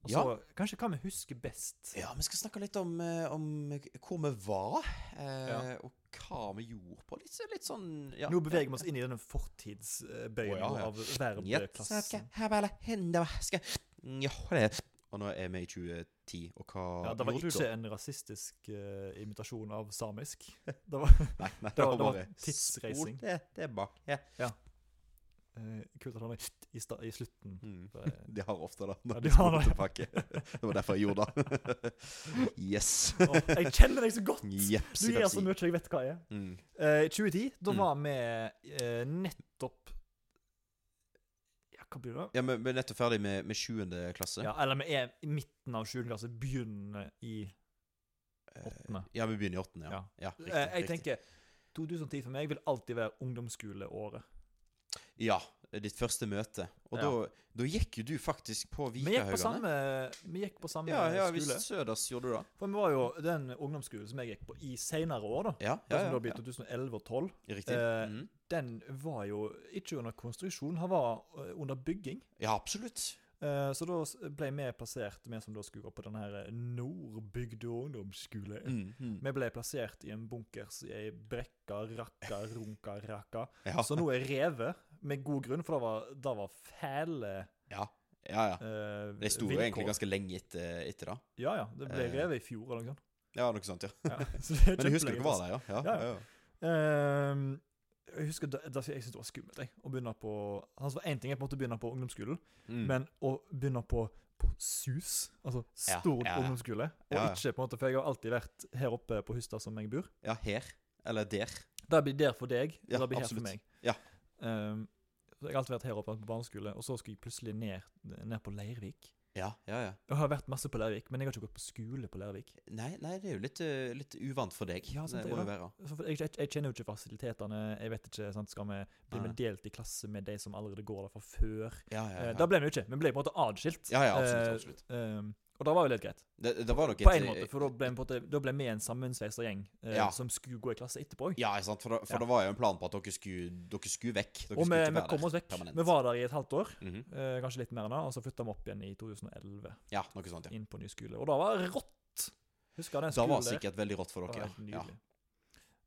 Speaker 2: Og så
Speaker 1: Ja.
Speaker 2: kanskje hva vi husker best.
Speaker 1: Ja, vi skal snakke litt om, eh, om hvor vi var, eh, og hva vi gjorde på. Litt, litt sånn ja.
Speaker 2: Nå beveger vi oss inn i denne fortidsbøyen
Speaker 1: Å, ja, ja.
Speaker 2: av
Speaker 1: Njet.
Speaker 2: verbeklassen.
Speaker 1: Her bare hender hva skal Ja, det Og nå er vi i 2010, og hva
Speaker 2: Ja, det var
Speaker 1: gjorde
Speaker 2: ikke en rasistisk eh, imitasjon av samisk. [laughs] Det var
Speaker 1: Nei, nei, det,
Speaker 2: det
Speaker 1: var
Speaker 2: var-
Speaker 1: bare
Speaker 2: det var tidsreising.
Speaker 1: Spol Det, det er bak. Ja.
Speaker 2: eh, kult at han er i, sta i slutten.
Speaker 1: Mm.
Speaker 2: Det er-
Speaker 1: De har ofte det. når
Speaker 2: Ja,
Speaker 1: de
Speaker 2: de har
Speaker 1: spoler tilbake. [laughs] Det var derfor jeg gjorde det. [laughs] Yes.
Speaker 2: Åh, jeg kjenner deg så
Speaker 1: [laughs]
Speaker 2: godt!
Speaker 1: Jepsi,
Speaker 2: Du gir altså
Speaker 1: pepsi.
Speaker 2: så mye jeg vet hva jeg er.
Speaker 1: Mm.
Speaker 2: Eh, I 2010, da
Speaker 1: Mm.
Speaker 2: var vi eh, nettopp Ja, hva blir det?
Speaker 1: Ja, men vi er nettopp ferdig med, med 7. klasse.
Speaker 2: Ja, eller vi er i midten av 7. klasse, begynner i
Speaker 1: Eh,
Speaker 2: åttende.
Speaker 1: Ja, vi begynner i 8. Ja.
Speaker 2: Ja.
Speaker 1: ja. riktig.
Speaker 2: Eh, Jeg
Speaker 1: riktig.
Speaker 2: tenker 2010 for meg vil alltid være ungdomsskoleåret.
Speaker 1: Ja, ditt første møte. Og
Speaker 2: Ja.
Speaker 1: da, da gikk jo du faktisk på
Speaker 2: Vi gikk på
Speaker 1: Vikahaugane.
Speaker 2: samme, vi gikk på samme
Speaker 1: Ja, ja,
Speaker 2: skole.
Speaker 1: visst Søders gjorde du det.
Speaker 2: For vi var jo den ungdomsskolen som jeg gikk på i senere år, da.
Speaker 1: Ja,
Speaker 2: Det
Speaker 1: ja,
Speaker 2: som da
Speaker 1: ja,
Speaker 2: ble 2011 og 2012.
Speaker 1: ja. Riktig.
Speaker 2: Eh,
Speaker 1: Mhm.
Speaker 2: Den var jo ikke under konstruksjon, han var eh, under bygging.
Speaker 1: Ja, absolutt.
Speaker 2: Eh, Så da s- ble vi plassert, vi som da skulle gå på den her Nordbygd ungdomsskole.
Speaker 1: Mm, mm.
Speaker 2: Vi ble plassert i en bunkers i ei brekka, rakka, runka, rakka.
Speaker 1: Ja.
Speaker 2: Så nå er revet, med god grunn, for det var, det var fæle
Speaker 1: ja, ja, ja.
Speaker 2: eh,
Speaker 1: De sto jo egentlig ganske lenge etter, etter det.
Speaker 2: Ja, ja. Det ble
Speaker 1: Eh.
Speaker 2: revet i fjor eller noe sånt. [laughs]
Speaker 1: Ja, noe sånt, ja.
Speaker 2: Ja.
Speaker 1: Men jeg husker dere var der, ja. ja,
Speaker 2: Ja,
Speaker 1: ja, ja.
Speaker 2: Ehm, jeg husker da, da jeg syntes det var skummelt jeg, å begynne på altså, En ting er på en måte å begynne på ungdomsskolen,
Speaker 1: Mm.
Speaker 2: men å begynne på, på SUS, altså
Speaker 1: Ja,
Speaker 2: stor
Speaker 1: ja, ja.
Speaker 2: ungdomsskole, og
Speaker 1: Ja, ja.
Speaker 2: ikke på en måte For jeg har alltid vært her oppe på Hustad som jeg bor.
Speaker 1: Ja, her. Eller der.
Speaker 2: Det blir der for deg, og
Speaker 1: Ja,
Speaker 2: det blir her
Speaker 1: absolutt.
Speaker 2: for meg.
Speaker 1: Ja.
Speaker 2: Ehm, så jeg har alltid vært her oppe på barneskole, og så skulle jeg plutselig ned, ned på Leirvik.
Speaker 1: Ja, ja, ja.
Speaker 2: Jeg har vært masse på Leirvik, men jeg har ikke gått på skole på Leirvik.
Speaker 1: Nei, nei det er jo litt, eh, litt uvant for deg.
Speaker 2: Ja, sant
Speaker 1: det
Speaker 2: det,
Speaker 1: må jo
Speaker 2: ja.
Speaker 1: være.
Speaker 2: Så for- Jeg, jeg, jeg kjenner jo ikke fasilitetene. Jeg vet ikke, sant, Skal vi bli
Speaker 1: Nei.
Speaker 2: vi delt i klasse med de som allerede går der fra før?
Speaker 1: Ja, ja,
Speaker 2: Eh,
Speaker 1: ja.
Speaker 2: Da ble vi jo ikke, vi ble på en måte adskilt.
Speaker 1: Ja, ja, absolutt, absolutt.
Speaker 2: Eh, ehm, og da var jo litt greit,
Speaker 1: Det, det var nok
Speaker 2: på
Speaker 1: et-
Speaker 2: en
Speaker 1: eh,
Speaker 2: måte, for da ble vi, på en måte, da ble vi en sammensveisa gjeng eh,
Speaker 1: Ja.
Speaker 2: som skulle gå i klasse etterpå òg.
Speaker 1: Ja, ikke sant? for, da, for
Speaker 2: Ja.
Speaker 1: det var jo en plan på at dere skulle, dere skulle vekk. Dere
Speaker 2: og vi,
Speaker 1: skulle
Speaker 2: vi kom oss vekk.
Speaker 1: permanent.
Speaker 2: Vi var der i et halvt år,
Speaker 1: Mhm.
Speaker 2: eh, kanskje litt mer enn det, og så flytta vi opp igjen i 2011,
Speaker 1: Ja, noe sånt, ja.
Speaker 2: inn på ny skole. Og da var det rått! Husker jeg den
Speaker 1: Da
Speaker 2: skolen
Speaker 1: var
Speaker 2: der?
Speaker 1: sikkert veldig rått for
Speaker 2: Det
Speaker 1: dere,
Speaker 2: var
Speaker 1: ja.
Speaker 2: helt
Speaker 1: ja.
Speaker 2: nydelig.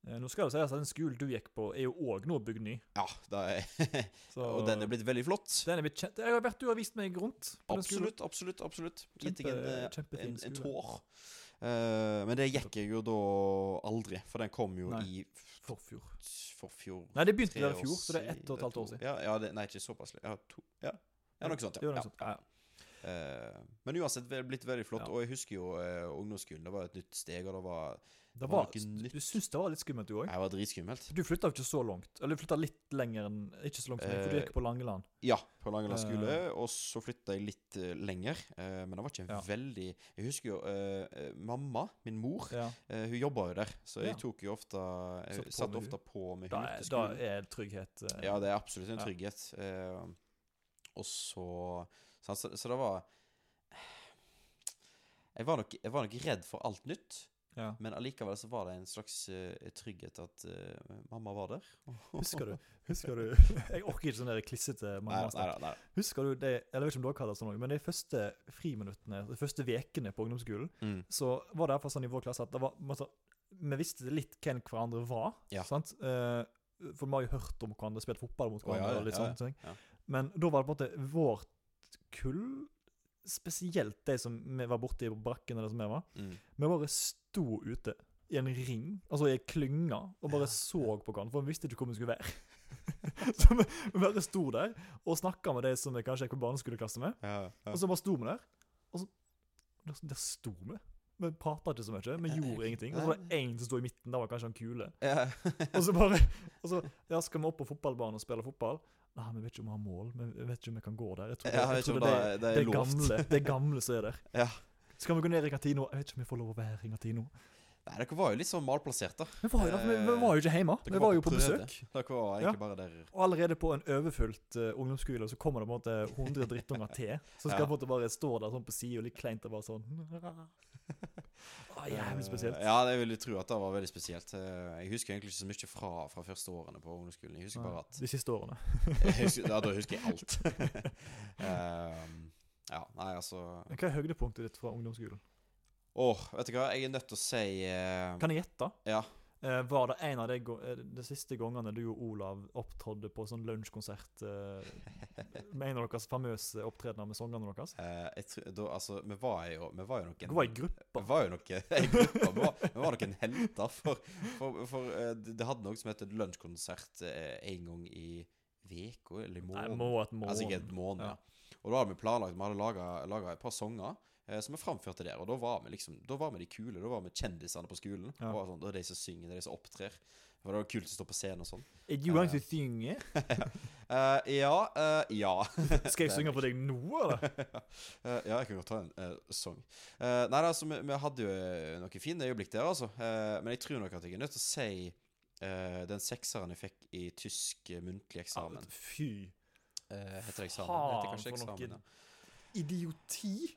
Speaker 2: Eh, Nå skal det sies at den skolen du gikk på, er jo òg nå bygd ny.
Speaker 1: ja da er, [laughs]
Speaker 2: Så
Speaker 1: og den er blitt veldig flott.
Speaker 2: den er blitt kjent. Jeg har vært, du har vist meg rundt. på den skolen.
Speaker 1: Absolutt, absolutt. absolutt. Gitt deg en,
Speaker 2: Kjempe-
Speaker 1: eh,
Speaker 2: kjempefin
Speaker 1: en, en
Speaker 2: skole.
Speaker 1: tår. Eh, men det gikk jeg jo da aldri, for den kom jo
Speaker 2: Nei.
Speaker 1: i
Speaker 2: Forfjor.
Speaker 1: forfjor
Speaker 2: Nei, det begynte
Speaker 1: tre
Speaker 2: der i fjor,
Speaker 1: år
Speaker 2: så det er ett og et halvt år
Speaker 1: to-
Speaker 2: siden.
Speaker 1: Ja, ja det, nei, ikke såpass lenge. Ja, to Ja, ja noe sånt.
Speaker 2: Det
Speaker 1: Ja.
Speaker 2: var noe
Speaker 1: ja.
Speaker 2: sånt. Ja, ja.
Speaker 1: Eh, men uansett, det er blitt veldig flott.
Speaker 2: Ja.
Speaker 1: Og jeg husker jo eh, ungdomsskolen. Det var et nytt steg, og det var
Speaker 2: Det
Speaker 1: var
Speaker 2: var,
Speaker 1: noe nytt.
Speaker 2: du syntes det var litt skummelt, du òg?
Speaker 1: Jeg var dritskummelt.
Speaker 2: Du flytta jo ikke så langt. Eller du flytta litt lenger enn Ikke så langt som meg, for du
Speaker 1: Eh,
Speaker 2: gikk på Langeland.
Speaker 1: Ja, på Langeland skole.
Speaker 2: Eh.
Speaker 1: Og så flytta jeg litt eh, lenger. eh, men det var ikke en
Speaker 2: Ja.
Speaker 1: veldig Jeg husker jo eh, eh, mamma, min mor,
Speaker 2: Ja.
Speaker 1: eh, hun jobba jo der. Så jeg
Speaker 2: Ja.
Speaker 1: tok jo ofte Jeg
Speaker 2: Satt på
Speaker 1: satt
Speaker 2: med
Speaker 1: ofte på med
Speaker 2: Da,
Speaker 1: henne
Speaker 2: er-
Speaker 1: til
Speaker 2: da
Speaker 1: skolen.
Speaker 2: er trygghet eh,
Speaker 1: Ja, det er absolutt en
Speaker 2: Ja.
Speaker 1: trygghet. Eh, og så, så Så så det var jeg var, nok, jeg var nok redd for alt nytt,
Speaker 2: ja.
Speaker 1: men allikevel så var det en slags eh, trygghet at eh, mamma var der.
Speaker 2: Husker du? Husker du
Speaker 1: [laughs]
Speaker 2: Jeg orker ikke sånn der klissete
Speaker 1: Nei,
Speaker 2: mamma-snakk.
Speaker 1: nei, nei,
Speaker 2: Husker du det, eller jeg vet ikke om dere hadde det sånn også, men de første friminuttene, de første vekene på ungdomsskolen,
Speaker 1: nei. Mm.
Speaker 2: så var det i hvert fall sånn i vår klasse at det var, man, sa- vi visste litt hvem hverandre var,
Speaker 1: Ja.
Speaker 2: sant? Eh, for vi har jo hørt om hverandre, spilt fotball mot
Speaker 1: Å, ja,
Speaker 2: hverandre,
Speaker 1: ja,
Speaker 2: og litt
Speaker 1: ja,
Speaker 2: sånne ting.
Speaker 1: ja.
Speaker 2: Men da var det på en måte vårt kull, spesielt de som vi var borte i brakken eller som vi var,
Speaker 1: Mm.
Speaker 2: vi bare sto ute i en ring, altså i en klynge, og bare
Speaker 1: Ja,
Speaker 2: så på hverandre, for vi visste ikke hvor vi skulle være. [laughs] så vi, vi bare sto der og snakka med de som vi kanskje gikk på barneskoleklasse med,
Speaker 1: Ja, ja.
Speaker 2: og så bare sto vi der. Og så Der, der sto vi. Vi prata ikke så mye, vi gjorde ingenting. Og så var det én som sto i midten, der var kanskje han kule.
Speaker 1: Ja.
Speaker 2: Og så bare og så, Ja, skal vi opp på fotballbanen og spille fotball? Nei, vi vet ikke om vi har mål, men vi vet ikke om vi kan gå der. Jeg tror det,
Speaker 1: Ja, jeg
Speaker 2: jeg tror
Speaker 1: tror
Speaker 2: det,
Speaker 1: det er-
Speaker 2: er
Speaker 1: det er
Speaker 2: det,
Speaker 1: lovt.
Speaker 2: gamle, det gamle som er der.
Speaker 1: [laughs] Ja.
Speaker 2: Skal vi gå ned i kantina? Jeg vet ikke om vi får lov å være i kantina.
Speaker 1: Nei, dere var jo litt sånn malplassert, da.
Speaker 2: Vi var jo, der,
Speaker 1: Eh,
Speaker 2: vi, vi var jo ikke hjemme.
Speaker 1: Dere
Speaker 2: Vi
Speaker 1: var
Speaker 2: var
Speaker 1: på
Speaker 2: jo på
Speaker 1: prøve.
Speaker 2: besøk.
Speaker 1: Dere var
Speaker 2: Ja.
Speaker 1: egentlig bare der.
Speaker 2: Og allerede på en overfylt eh, ungdomsskole så kommer det på en måte 100 drittunger til. Som skal
Speaker 1: Ja.
Speaker 2: på en måte bare stå der sånn på sida, litt kleint og bare
Speaker 1: [laughs]
Speaker 2: sånn Å, Jævlig Ah, spesielt.
Speaker 1: Eh, Ja, jeg vil tro at det var veldig spesielt. Eh, Jeg husker egentlig ikke så mye fra, fra første årene på ungdomsskolen. Jeg husker bare at [laughs]
Speaker 2: De siste årene.
Speaker 1: Jeg husker, ja, da husker jeg
Speaker 2: [laughs]
Speaker 1: alt. Ehm, ja, nei, altså
Speaker 2: Men Hva er høydepunktet ditt fra ungdomsskolen?
Speaker 1: Åh, vet du hva, jeg er nødt til å si eh,
Speaker 2: Kan jeg gjette?
Speaker 1: Ja.
Speaker 2: Eh, var det en av de, go- eh, de siste gangene du og Olav opptrådde på sånn lunsjkonsert eh, med en av deres famøse opptredener med sangene deres?
Speaker 1: eh, jeg tror, da, altså, vi var jo Vi var jo nok en
Speaker 2: Dere var i gruppa.
Speaker 1: vi var jo nok [laughs] en gruppe. Vi var, vi var nok en helter, for, for, for eh, det hadde noe som het lunsjkonsert eh, en gang i veka eller i
Speaker 2: Nei,
Speaker 1: måneden.
Speaker 2: må et mål.
Speaker 1: Altså ikke et måned, ja. Og da hadde vi planlagt, vi hadde laga et par sanger eh, som vi framførte der. Og da var vi liksom, da var vi de kule, da var vi kjendisene på skolen.
Speaker 2: Ja.
Speaker 1: Og sånn, da er det de som synger, det er de som opptrer. For det var kult å stå på scenen og sånn.
Speaker 2: Er du han som
Speaker 1: [laughs]
Speaker 2: synger?
Speaker 1: Eh, ja, eh, ja.
Speaker 2: [laughs] Skal jeg synge for deg nå, eller?
Speaker 1: Eh, ja, jeg kan godt ta en eh, sang. Eh, nei, altså, vi, vi hadde jo eh, noen fine øyeblikk der, altså. Eh, men jeg tror nok at jeg er nødt til å si eh, den sekseren jeg fikk i tysk eh, muntlig eksamen.
Speaker 2: Fy
Speaker 1: Eh, heter det eksamen? Heter
Speaker 2: faen,
Speaker 1: kanskje
Speaker 2: for noe
Speaker 1: eksamen, ja. [laughs]
Speaker 2: idioti!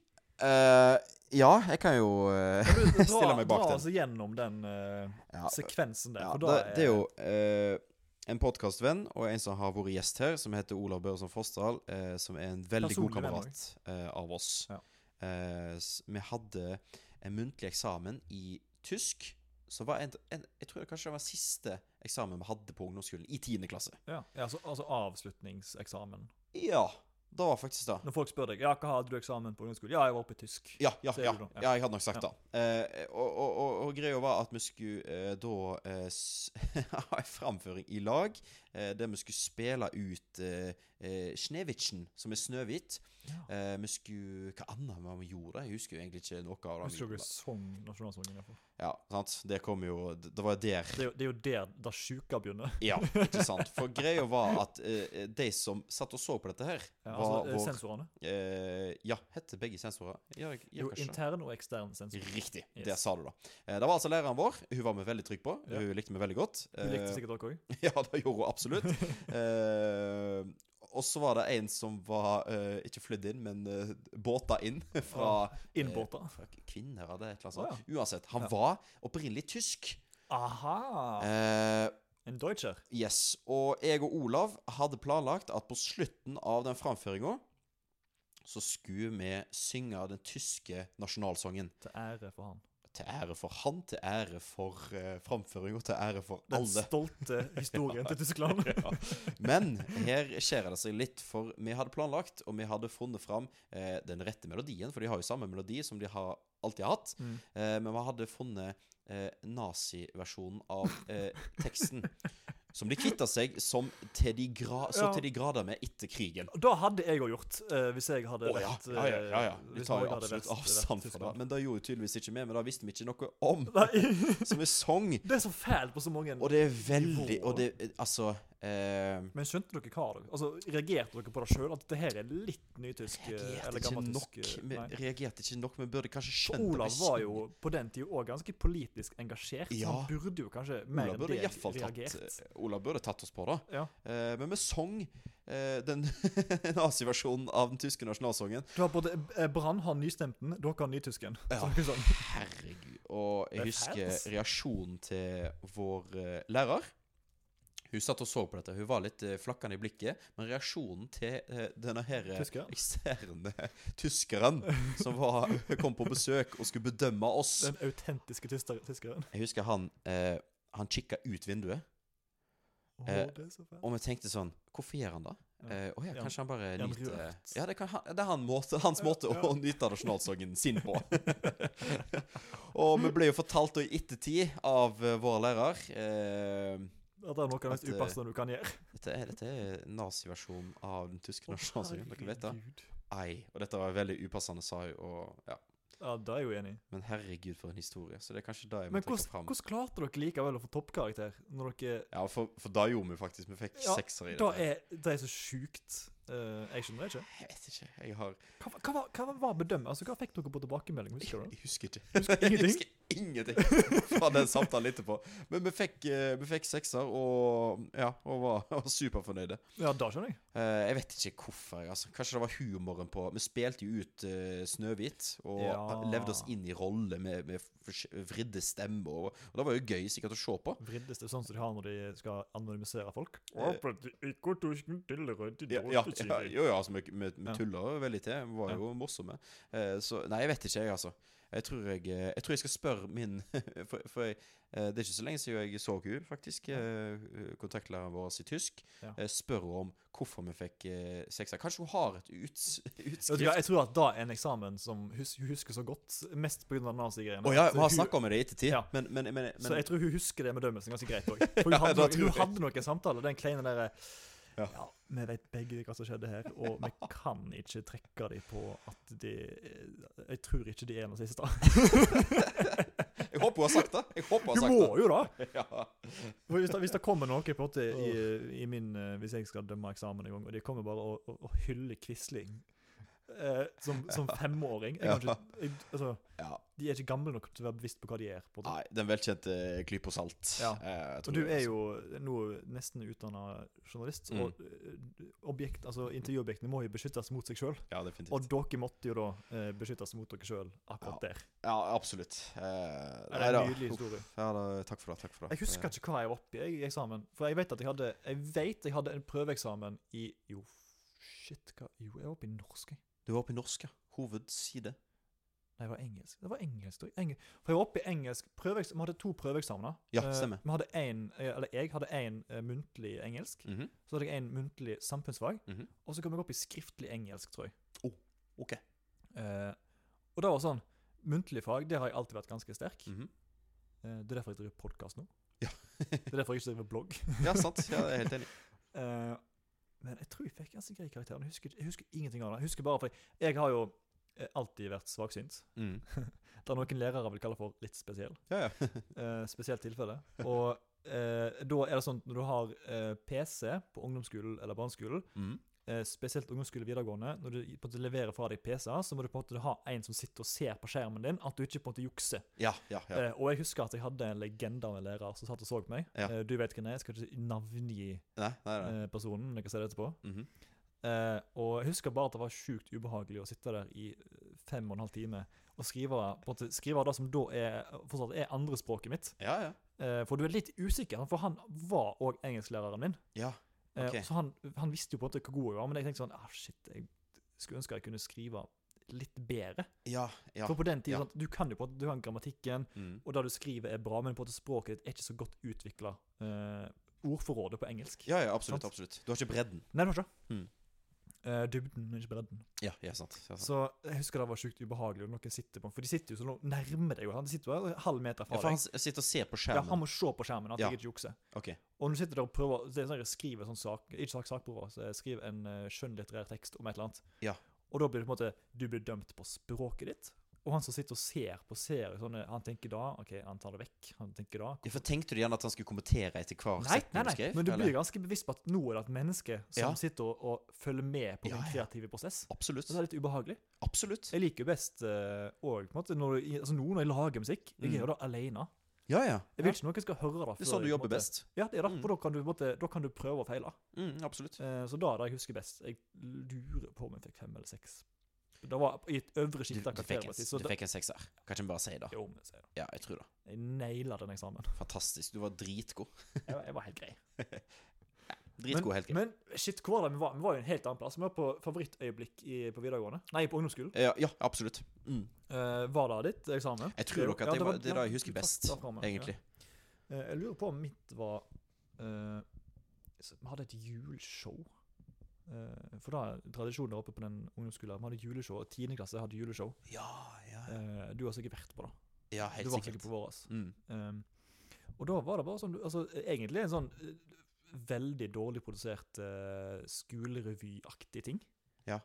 Speaker 1: Eh, ja, jeg kan jo eh,
Speaker 2: Kan du
Speaker 1: Stiller
Speaker 2: Dra,
Speaker 1: meg bak
Speaker 2: dra
Speaker 1: den.
Speaker 2: oss gjennom den eh,
Speaker 1: ja,
Speaker 2: sekvensen der.
Speaker 1: Ja,
Speaker 2: for
Speaker 1: det,
Speaker 2: da
Speaker 1: det er jo eh, en podkastvenn og en som har vært gjest her, som heter Olav Børresen Fossdal, eh, som er en veldig
Speaker 2: Personlig
Speaker 1: god
Speaker 2: venn
Speaker 1: kamerat eh, av oss.
Speaker 2: Ja.
Speaker 1: Eh, s- vi hadde en muntlig eksamen i tysk. Så var en, en, jeg tror det kanskje det var siste eksamen vi hadde på ungdomsskolen, i tiende klasse.
Speaker 2: ja, ja, altså, altså avslutningseksamen.
Speaker 1: Ja. Det var faktisk det.
Speaker 2: Når folk spør deg ja, hva hadde du eksamen på ungdomsskolen, ja, jeg var oppe i tysk.
Speaker 1: Ja, ja,
Speaker 2: Så er
Speaker 1: ja,
Speaker 2: det sånn, ja.
Speaker 1: ja, jeg hadde nok sagt det. Eh, og, og, og, og greia var at vi skulle eh, da eh, s- [laughs] ha en framføring i lag, eh, der vi skulle spille ut eh, eh, Snevitsen, som er Snøhvit.
Speaker 2: Ja.
Speaker 1: Eh, vi skulle Hva annet var vi gjorde? Jeg husker jo egentlig ikke noe av det. vi
Speaker 2: Husker dere
Speaker 1: gjorde.
Speaker 2: sang nasjonalsangen? i hvert fall.
Speaker 1: Ja, sant? Det kom jo Det var jo der
Speaker 2: Det er jo, det er jo der det sjuke begynner.
Speaker 1: Ja, ikke sant? For greia var at eh, de som satt og så på dette her,
Speaker 2: Ja,
Speaker 1: var
Speaker 2: altså, eh,
Speaker 1: vår
Speaker 2: sensorene.
Speaker 1: eh, Ja, heter begge sensorer? Ja, jeg, ja
Speaker 2: Jo,
Speaker 1: kanskje.
Speaker 2: intern og ekstern sensor.
Speaker 1: Riktig.
Speaker 2: Yes.
Speaker 1: Der sa du det. Eh, Det var altså læreren vår. Hun var vi veldig trygg på.
Speaker 2: Ja.
Speaker 1: Hun likte vi veldig godt.
Speaker 2: Du likte
Speaker 1: Eh,
Speaker 2: sikkert dere òg.
Speaker 1: [laughs] Ja, det gjorde hun
Speaker 2: [laughs]
Speaker 1: absolutt. Eh, Og så var det en som var eh, ikke flydd inn, men eh, båta inn [laughs] fra
Speaker 2: Innbåta.
Speaker 1: fra Kvinner eller et eller annet
Speaker 2: Å,
Speaker 1: sånt. Uansett, han
Speaker 2: Ja. Ah.
Speaker 1: var opprinnelig tysk.
Speaker 2: Aha!
Speaker 1: Eh,
Speaker 2: En deutscher.
Speaker 1: Yes, og jeg og Olav hadde planlagt at på slutten av den framføringa så skulle vi synge den tyske nasjonalsangen.
Speaker 2: Til ære for han.
Speaker 1: Til ære for han, til ære for uh, framføringa, til ære for
Speaker 2: Den
Speaker 1: alle.
Speaker 2: stolte historien til Tyskland.
Speaker 1: [laughs] Men her skjærer det seg litt, for vi hadde planlagt, og vi hadde funnet fram eh, den rette melodien, for de har jo samme melodi som de har alltid har hatt.
Speaker 2: Mm.
Speaker 1: Eh, men vi hadde funnet eh, naziversjonen av eh, teksten. Som de kvitta seg som til de gra så
Speaker 2: Ja.
Speaker 1: til de grader med etter krigen.
Speaker 2: Da hadde jeg òg gjort, eh, hvis jeg hadde
Speaker 1: Å ja,
Speaker 2: vært,
Speaker 1: ja, ja,
Speaker 2: eh,
Speaker 1: ja, ja. Vi
Speaker 2: hvis
Speaker 1: tar jo
Speaker 2: Norge hadde
Speaker 1: absolutt
Speaker 2: vært- vært
Speaker 1: avstand fra det.
Speaker 2: Tyskland.
Speaker 1: Men det gjorde jo tydeligvis ikke vi, men det visste vi ikke noe om.
Speaker 2: Nei, [laughs]
Speaker 1: Så vi sang,
Speaker 2: det er så fælt på så mange
Speaker 1: og det er veldig Og det Altså eh,
Speaker 2: Men skjønte dere hva? Dere? Altså, Reagerte dere på det sjøl? At det her er litt nytysk? eh,
Speaker 1: reagerte
Speaker 2: eller
Speaker 1: ikke
Speaker 2: gammel
Speaker 1: nok.
Speaker 2: tysk, eh,
Speaker 1: Vi
Speaker 2: nei.
Speaker 1: reagerte ikke nok, men burde kanskje
Speaker 2: For
Speaker 1: skjønt at
Speaker 2: Olav
Speaker 1: vi
Speaker 2: var
Speaker 1: sang.
Speaker 2: jo på den tida òg ganske politisk engasjert, så
Speaker 1: Ja.
Speaker 2: han burde jo kanskje mer
Speaker 1: Olav
Speaker 2: enn
Speaker 1: burde
Speaker 2: deg
Speaker 1: iallfall tatt, eh,
Speaker 2: reagert.
Speaker 1: Olav burde tatt oss på det.
Speaker 2: Ja.
Speaker 1: Eh, men vi sang eh, den [laughs] naziversjonen av den tyske nasjonalsangen.
Speaker 2: Du har både eh, Brann har nystemten, dere har nytysken.
Speaker 1: Ja.
Speaker 2: Så det er sånn.
Speaker 1: Herregud. Og
Speaker 2: Det er
Speaker 1: jeg husker
Speaker 2: fælt.
Speaker 1: reaksjonen til vår eh, lærer. Hun satt og så på dette. Hun var litt eh, flakkende i blikket. Men reaksjonen til eh, denne her eh,
Speaker 2: Tyskeren?
Speaker 1: eksterne tyskeren som var, kom på besøk og skulle bedømme oss
Speaker 2: Den autentiske tyster, tyskeren.
Speaker 1: Jeg husker han eh, Han kikka ut vinduet,
Speaker 2: Åh,
Speaker 1: Eh,
Speaker 2: det er så fælt.
Speaker 1: og vi tenkte sånn Hvorfor gjør han det?
Speaker 2: Ja.
Speaker 1: Eh, å ja,
Speaker 2: Ja.
Speaker 1: kanskje han bare
Speaker 2: Ja, han
Speaker 1: nyter
Speaker 2: rørt.
Speaker 1: Ja, det, kan, han- det er han måte, hans
Speaker 2: Ja,
Speaker 1: måte
Speaker 2: ja.
Speaker 1: å nyte nasjonalsangen sin på. [laughs] og vi ble jo fortalt da i ettertid av eh, vår lærer eh,
Speaker 2: At det er noe av det mest
Speaker 1: at, eh,
Speaker 2: upassende du kan gjøre.
Speaker 1: Dette er, dette er naziversjonen av den tyske nasjonalsangen. sånn Dere vet det?
Speaker 2: herregud.
Speaker 1: Ei. Og dette var veldig upassende, sa hun. Og, ja.
Speaker 2: Ja, det er jeg jo enig i.
Speaker 1: Men herregud, for en historie. Så det er kanskje det jeg må
Speaker 2: Men
Speaker 1: trekke
Speaker 2: hvordan
Speaker 1: fram.
Speaker 2: hvordan klarte dere likevel å få toppkarakter? Når dere
Speaker 1: Ja, for, for da gjorde vi faktisk Vi fikk
Speaker 2: Ja,
Speaker 1: sekser i
Speaker 2: Da
Speaker 1: dette.
Speaker 2: er det er så sjukt. Eh, jeg skjønner det ikke.
Speaker 1: Jeg vet ikke. Jeg har
Speaker 2: Hva, hva, var- hva var bedømmet? Altså, hva fikk dere på tilbakemelding? Husker
Speaker 1: [laughs]
Speaker 2: du det?
Speaker 1: Jeg husker ikke.
Speaker 2: Husker
Speaker 1: Jeg
Speaker 2: ingenting?
Speaker 1: husker ingenting fra den samtalen etterpå. Men vi fikk, eh, vi fikk sekser og, ja, og var, [laughs] var superfornøyde.
Speaker 2: Ja, da skjønner jeg.
Speaker 1: Eh, jeg vet ikke hvorfor. jeg, Altså. Kanskje det var humoren på Vi spilte jo ut eh, Snøhvit og
Speaker 2: Ja.
Speaker 1: levde oss inn i rolle med, med fors- vridde stemmer. Og, og det var jo gøy sikkert å se på.
Speaker 2: Vriddeste sånn som de har når de skal anonymisere folk.
Speaker 1: Eh, Ja, ja, ja, jo, ja altså, vi, vi, vi
Speaker 2: Ja.
Speaker 1: tuller jo veldig til. Vi var
Speaker 2: Ja.
Speaker 1: jo morsomme. Eh, så Nei, jeg vet ikke, jeg, altså. Jeg tror jeg, eh, jeg, tror jeg skal spørre min [laughs] For, for jeg, eh, det er ikke så lenge siden jeg så henne, faktisk. eh, Kontaktlæreren vår i tysk.
Speaker 2: Ja.
Speaker 1: Eh, Spør henne om hvorfor vi fikk eh, sekser. Kanskje hun har et uts
Speaker 2: Vet du hva,
Speaker 1: utskrift?
Speaker 2: jeg tror at da er en eksamen som hus hun husker så godt, mest pga. nazigreiene.
Speaker 1: Å
Speaker 2: Altså,
Speaker 1: ja, vi har
Speaker 2: Så hun-
Speaker 1: snakka om det i ettertid,
Speaker 2: Ja.
Speaker 1: men, men, men,
Speaker 2: Så
Speaker 1: men
Speaker 2: jeg tror hun husker det med dømmelsen ganske greit
Speaker 1: [laughs]
Speaker 2: òg. For
Speaker 1: Ja,
Speaker 2: hun hadde,
Speaker 1: da
Speaker 2: noe-
Speaker 1: tror jeg.
Speaker 2: hun hadde noen samtaler, den kleine derre ja.
Speaker 1: Ja.
Speaker 2: vi vet begge hva som skjedde her, og
Speaker 1: [laughs]
Speaker 2: vi kan ikke trekke dem på at de eh, Jeg tror ikke de er nazister. [laughs]
Speaker 1: jeg håper hun har sagt det. Jeg håper
Speaker 2: Du
Speaker 1: hun har
Speaker 2: må
Speaker 1: sagt
Speaker 2: jo da!
Speaker 1: det. Ja.
Speaker 2: For hvis, det, hvis det kommer noe på en måte i, i min eh, Hvis jeg skal dømme eksamen en gang, og de kommer bare og, og, og hyller Quisling eh, som,
Speaker 1: [laughs]
Speaker 2: som femåring jeg kan ikke, jeg, altså,
Speaker 1: ja.
Speaker 2: De er ikke gamle nok til å være bevisst på hva de gjør. På en måte.
Speaker 1: Nei, den velkjente klypa salt.
Speaker 2: Ja.
Speaker 1: Eh, jeg tror
Speaker 2: og du
Speaker 1: det,
Speaker 2: er
Speaker 1: altså.
Speaker 2: jo nå nesten utdanna journalist,
Speaker 1: Mm.
Speaker 2: og eh, objekt, altså, intervjuobjektene må jo beskyttes mot seg sjøl.
Speaker 1: Ja, definitivt.
Speaker 2: Og dere måtte jo da eh, beskyttes mot dere sjøl akkurat der.
Speaker 1: Ja, absolutt. Eh,
Speaker 2: Det
Speaker 1: nei
Speaker 2: er
Speaker 1: da.
Speaker 2: en nydelig
Speaker 1: Uff.
Speaker 2: historie.
Speaker 1: Ja, da, takk for det. takk for det. Eh.
Speaker 2: Jeg husker ikke hva jeg var oppe i i eksamen. For jeg vet at jeg hadde Jeg vet jeg hadde en prøveeksamen i Jo, shit, hva Jo, jeg var oppe i norsk, jeg.
Speaker 1: Du var oppe i norsk, ja. Hovedside.
Speaker 2: Nei, det var engelsk. Det var engelsk, tror jeg. Engel- For jeg var oppe i engelsk. Prøveeks- vi hadde to prøveeksamener.
Speaker 1: Ja,
Speaker 2: Eh,
Speaker 1: stemmer.
Speaker 2: Vi hadde en, eh, eller jeg hadde én muntlig engelsk.
Speaker 1: Mhm,
Speaker 2: Så hadde jeg én muntlig samfunnsfag.
Speaker 1: mhm.
Speaker 2: Og så kom jeg opp i skriftlig engelsk, tror jeg.
Speaker 1: OK.
Speaker 2: Eh, og det var sånn Muntlig fag, der har jeg alltid vært ganske sterk.
Speaker 1: Mhm.
Speaker 2: Eh, det er derfor jeg driver podkast nå.
Speaker 1: Ja.
Speaker 2: det er derfor jeg ikke driver blogg.
Speaker 1: Ja, sant. Ja, jeg er helt
Speaker 2: [laughs]
Speaker 1: enig.
Speaker 2: Eh, men jeg tror jeg fikk ganske grei karakter. men Jeg husker, jeg husker ingenting av det. Jeg husker bare fordi jeg har jo eh, alltid vært svaksynt.
Speaker 1: Mhm.
Speaker 2: Det er noen lærere vil kalle for litt spesiell.
Speaker 1: Ja, ja.
Speaker 2: eh, spesielt tilfelle. Og eh, da er det sånn at når du har eh, PC på ungdomsskolen eller barneskolen,
Speaker 1: Mhm.
Speaker 2: eh, spesielt ungdomsskole videregående, når du på en måte leverer fra deg PC-er, så må du på en måte ha en som sitter og ser på skjermen din, at du ikke på en måte jukser.
Speaker 1: Ja, ja, ja.
Speaker 2: Eh, og jeg husker at jeg hadde en legende av en lærer som satt og så på meg.
Speaker 1: Ja.
Speaker 2: Eh, du vet hvem det er, jeg skal ikke navngi
Speaker 1: Nei, nei, nei.
Speaker 2: eh, personen, men jeg kan si det etterpå.
Speaker 1: Mhm.
Speaker 2: Eh, og jeg husker bare at det var sjukt ubehagelig å sitte der i eh, fem og en halv time og skrive, på en måte, skrive det som da er, fortsatt er andrespråket mitt.
Speaker 1: Ja, ja.
Speaker 2: Eh, for du er litt usikker, for han var òg engelsklæreren min.
Speaker 1: Ja.
Speaker 2: Eh,
Speaker 1: Ok.
Speaker 2: Så han, han visste jo på en måte hvor god jeg var, men jeg tenkte sånn ah, Shit, jeg skulle ønske jeg kunne skrive litt bedre.
Speaker 1: Ja, ja.
Speaker 2: For på den tiden,
Speaker 1: ja.
Speaker 2: sånn, du kan jo på en måte, du kan grammatikken,
Speaker 1: Mhm.
Speaker 2: og det du skriver, er bra, men på en måte språket ditt er ikke så godt utvikla. ordforrådet på engelsk.
Speaker 1: Ja, ja, absolutt.
Speaker 2: Sant.
Speaker 1: absolutt. Du har ikke bredden.
Speaker 2: Nei, det var ikke det.
Speaker 1: Mm.
Speaker 2: Eh, dybden, men ikke bredden.
Speaker 1: Ja, ja, sant. Ja, sant.
Speaker 2: Så jeg husker det var sjukt ubehagelig når noen sitter på For de sitter jo så nå- nærme deg, jo. sant? De sitter jo en halv meter
Speaker 1: Ja,
Speaker 2: fra
Speaker 1: for han
Speaker 2: deg.
Speaker 1: s- sitter og ser på
Speaker 2: Ja, han
Speaker 1: skjermen.
Speaker 2: må se på skjermen at
Speaker 1: Ja.
Speaker 2: jeg ikke jukser.
Speaker 1: OK.
Speaker 2: Og når du sitter der og prøver det er sånn, jeg skriver sånn sak, Ikke sak, sakprøver, så jeg skriver en uh, skjønnlitterær tekst om et eller annet.
Speaker 1: Ja.
Speaker 2: Og da blir det på en måte Du blir dømt på språket ditt. Og han som sitter og ser på ser jo sånn, Han tenker da OK, han tar det vekk. Han tenker da
Speaker 1: Ja, for Tenkte du gjerne at han skulle kommentere etter hver
Speaker 2: Nei,
Speaker 1: setning
Speaker 2: nei,
Speaker 1: du
Speaker 2: nei,
Speaker 1: skrev?
Speaker 2: men du blir
Speaker 1: eller?
Speaker 2: ganske bevisst på at nå er det et menneske som
Speaker 1: Ja.
Speaker 2: sitter og, og følger med på
Speaker 1: Ja,
Speaker 2: din
Speaker 1: ja.
Speaker 2: kreative prosess.
Speaker 1: Absolutt.
Speaker 2: Og det er litt ubehagelig.
Speaker 1: Absolutt.
Speaker 2: Jeg liker jo best eh, og, på en måte, når, du- altså, nå når jeg lager musikk. Jeg
Speaker 1: Mm.
Speaker 2: gjør det alene.
Speaker 1: Ja, ja.
Speaker 2: Jeg vil ikke noen skal høre det.
Speaker 1: Det er
Speaker 2: før
Speaker 1: sånn du
Speaker 2: jeg, på en
Speaker 1: jobber
Speaker 2: måte-
Speaker 1: best.
Speaker 2: Ja, det er det.
Speaker 1: Mm.
Speaker 2: For da kan, du, på en måte, da kan du prøve og feile.
Speaker 1: Mm, absolutt.
Speaker 2: Eh, Så da er det jeg husker best. Jeg lurer på om jeg fikk fem eller seks. Det var i et øvre
Speaker 1: Du,
Speaker 2: sjikt av
Speaker 1: du, fikk
Speaker 2: karakterer.
Speaker 1: en,
Speaker 2: Så
Speaker 1: du
Speaker 2: det,
Speaker 1: fikk en sekser. Kan ikke vi bare si det?
Speaker 2: jo, men se da.
Speaker 1: Ja, jeg tror det.
Speaker 2: Jeg naila den eksamen.
Speaker 1: Fantastisk. Du var dritgod.
Speaker 2: [laughs] Jeg var, jeg
Speaker 1: [laughs]
Speaker 2: var helt grei.
Speaker 1: Dritgod helt greit.
Speaker 2: men shit, hvor var det vi var? Vi var jo en helt annen plass. Vi var på favorittøyeblikk i, på videregående. Nei, på ungdomsskolen.
Speaker 1: Ja, ja, absolutt. Mm.
Speaker 2: Eh, var det ditt eksamen?
Speaker 1: Jeg tror nok at det, var, det er det jeg husker
Speaker 2: du
Speaker 1: best,
Speaker 2: trakk det fram, ja.
Speaker 1: egentlig.
Speaker 2: Eh, jeg lurer på om mitt var eh, så Vi hadde et juleshow. Eh, for da er tradisjonen der oppe på den ungdomsskolen. Vi hadde juleshow, og 10. klasse hadde juleshow.
Speaker 1: Ja, ja, ja.
Speaker 2: Eh, du har sikkert vært på det.
Speaker 1: ja
Speaker 2: du
Speaker 1: helt
Speaker 2: var sikkert
Speaker 1: sikkert.
Speaker 2: på våres.
Speaker 1: Mm.
Speaker 2: Um, og da var det bare sånn altså, Egentlig en sånn eh, veldig dårlig produsert uh, skolerevyaktig ting.
Speaker 1: Ja.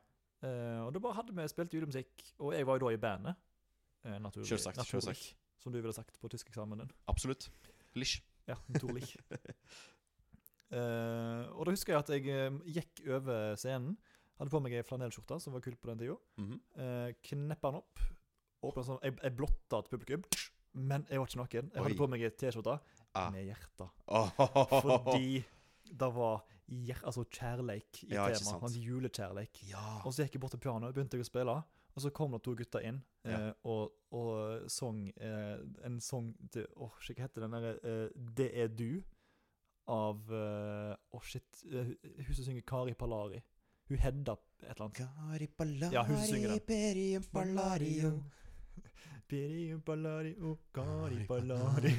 Speaker 2: Eh, og da bare hadde vi spilt julemusikk, og jeg var jo da i bandet. eh, naturlig,
Speaker 1: Selvsagt,
Speaker 2: naturlig,
Speaker 1: selvsagt.
Speaker 2: Som du ville sagt på tyskeksamen din.
Speaker 1: Absolutt. Lish.
Speaker 2: Ja, naturlig.
Speaker 1: [laughs]
Speaker 2: Eh, og da husker jeg at jeg eh, gikk over scenen. Hadde på meg ei flanellskjorte som var kult på den tida.
Speaker 1: Mhm.
Speaker 2: Uh, kneppa den opp. Åpna sånn Jeg, jeg blotta et publikum, men jeg var ikke naken. Jeg
Speaker 1: Oi.
Speaker 2: hadde på meg ei T-skjorte
Speaker 1: Ah.
Speaker 2: med
Speaker 1: [laughs]
Speaker 2: hjerte. [laughs]
Speaker 1: Fordi
Speaker 2: Fordi det var hjer altså kjærleik i
Speaker 1: Ja, ikke sant. Ah.
Speaker 2: temaet. Altså julekjærleik.
Speaker 1: Ja.
Speaker 2: Og så gikk jeg bort til pianoet, begynte jeg å spille, og så kom det to gutter inn eh, og, og sang eh, en sang til Åh, shit, hva heter den derre eh, Det er du av eh, Åh, shit. eh, hun som synger Kari Palari. Hun Hedda et eller annet. Ja, hun synger den. Pirium Pallario,
Speaker 1: [laughs]
Speaker 2: Kari Pallari.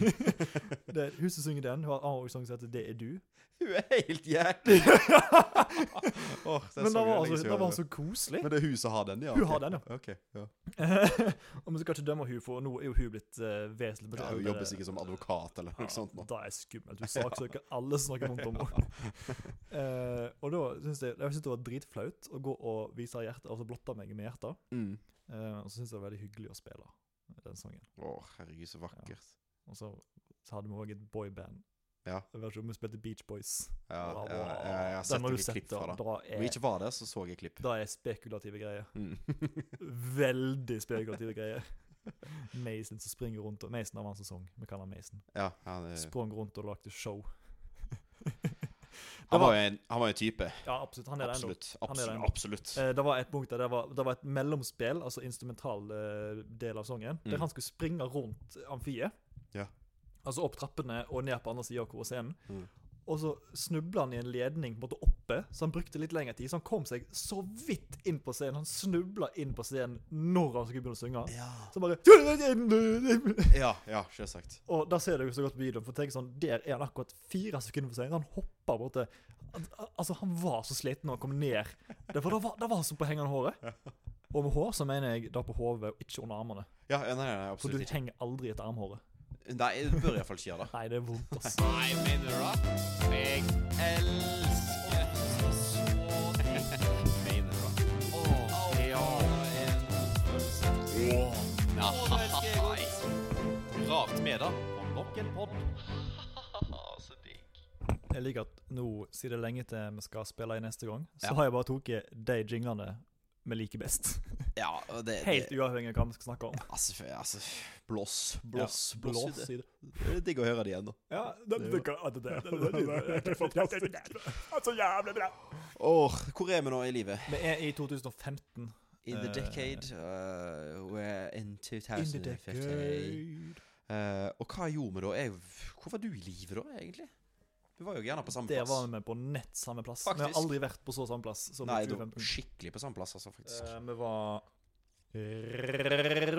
Speaker 2: Det er hun som synger den. Hun har en annen sang som heter Det er
Speaker 1: [laughs]
Speaker 2: du.
Speaker 1: Hun er helt
Speaker 2: [laughs]
Speaker 1: jævlig! Åh,
Speaker 2: Men det
Speaker 1: sangen
Speaker 2: var,
Speaker 1: er
Speaker 2: altså,
Speaker 1: lenge siden
Speaker 2: det var
Speaker 1: jeg
Speaker 2: så koselig.
Speaker 1: hørte. Men det er hun som har den, ja?
Speaker 2: Hun
Speaker 1: ok.
Speaker 2: har den, ja.
Speaker 1: Ok, ja.
Speaker 2: [laughs] Og vi skal ikke dømme henne, for nå er jo hun blitt eh, vesentlig
Speaker 1: ja hun jobber
Speaker 2: eh,
Speaker 1: sikkert som advokat eller noe sånt nå.
Speaker 2: Det er skummelt. Hun
Speaker 1: [laughs]
Speaker 2: saksøker alle som snakker vondt om henne. Eh, og da syns jeg, jeg synes det var dritflaut å gå og vise hjertet, altså blotte meg med hjertet.
Speaker 1: Mm.
Speaker 2: Eh, og så syns jeg det var veldig hyggelig å spille den sangen.
Speaker 1: Å, herregud, så vakkert.
Speaker 2: Og så, så hadde vi òg et boyband.
Speaker 1: Ja.
Speaker 2: Jeg vet ikke om vi spilte Beach Boys.
Speaker 1: Ja, ja,
Speaker 2: Wow.
Speaker 1: ja, ja, jeg har
Speaker 2: Den
Speaker 1: sett
Speaker 2: må du
Speaker 1: noen klipp
Speaker 2: sette.
Speaker 1: fra det.
Speaker 2: Da
Speaker 1: Om jeg
Speaker 2: er,
Speaker 1: ikke var der, så så jeg klipp.
Speaker 2: da er spekulative greier.
Speaker 1: Mm.
Speaker 2: Veldig spekulative greier. Mason som springer rundt og Mason har en sesong. Vi kaller han Mason.
Speaker 1: [laughs] Ja, han, eh,
Speaker 2: Sprang rundt og lagde show.
Speaker 1: han
Speaker 2: var-
Speaker 1: var jo en, han var jo en type.
Speaker 2: Ja, absolutt. Han er det ennå.
Speaker 1: Absolutt.
Speaker 2: Han er der
Speaker 1: Absolutt.
Speaker 2: ennå.
Speaker 1: absolutt.
Speaker 2: Eh, Det var et punkt der det var, det var et mellomspill, altså instrumental eh, del av sangen,
Speaker 1: Mm.
Speaker 2: der han skulle springe rundt amfiet.
Speaker 1: Ja.
Speaker 2: Altså opp trappene og ned på andre sida av scenen.
Speaker 1: Mm.
Speaker 2: Og så snubla han i en ledning på en måte opp oppe, så han brukte litt lengre tid. Så han kom seg så vidt inn på scenen. Han snubla inn på scenen når han skulle begynne å synge.
Speaker 1: Ja,
Speaker 2: Så bare
Speaker 1: ja, ja selvsagt.
Speaker 2: Og da ser du jo så godt på videoen, for tenk sånn, der er han akkurat fire sekunder for sent. Han hoppa borte. Al- Altså, han var så sliten når han kom ned. Det var, det var, det var som på hengende håret. Og med hår så mener jeg da på hodet, og ikke under armene.
Speaker 1: Ja, ja, nei, nei,
Speaker 2: For du
Speaker 1: absolutt ikke.
Speaker 2: henger aldri etter armhåret.
Speaker 1: Nei, du bør iallfall ikke gjøre det.
Speaker 2: Nei, det er vondt, ass.
Speaker 3: Nei, minner opp. Jeg elsker så digg. Minner opp. Åh, ja. Åh, nei.
Speaker 1: Rart med det. Og nok en podd.
Speaker 3: Så digg.
Speaker 2: Jeg liker at nå, siden det er lenge til vi skal spille i neste gang, så
Speaker 1: Ja.
Speaker 2: har jeg bare tatt de jinglene vi liker best.
Speaker 1: Ja, og det,
Speaker 2: Helt
Speaker 1: det
Speaker 2: uavhengig av hva vi skal snakke om.
Speaker 1: altså, f- altså Blås, blåss, blåss.
Speaker 2: Blås
Speaker 1: i
Speaker 2: i det.
Speaker 1: det. Det er digg å høre det igjen, da.
Speaker 2: Ja, det, det, det, det, det, det, det er fantastisk. Så jævlig bra.
Speaker 1: Åh, hvor er vi nå i livet?
Speaker 2: Vi er i 2015.
Speaker 1: In the
Speaker 2: Eh,
Speaker 1: decade. Uh, we're in
Speaker 2: In the
Speaker 1: 2015.
Speaker 2: decade.
Speaker 1: Eh, og hva gjorde vi da? Jeg, hvor var du i livet da, egentlig? Du var jo gjerne på samme
Speaker 2: Der
Speaker 1: plass.
Speaker 2: var vi på nett samme plass. Vi har
Speaker 1: Faktisk.
Speaker 2: aldri vært på så samme plass som
Speaker 1: Nei,
Speaker 2: i
Speaker 1: da,
Speaker 2: 2015.
Speaker 1: skikkelig på samme plass, altså, faktisk.
Speaker 2: Eh, vi var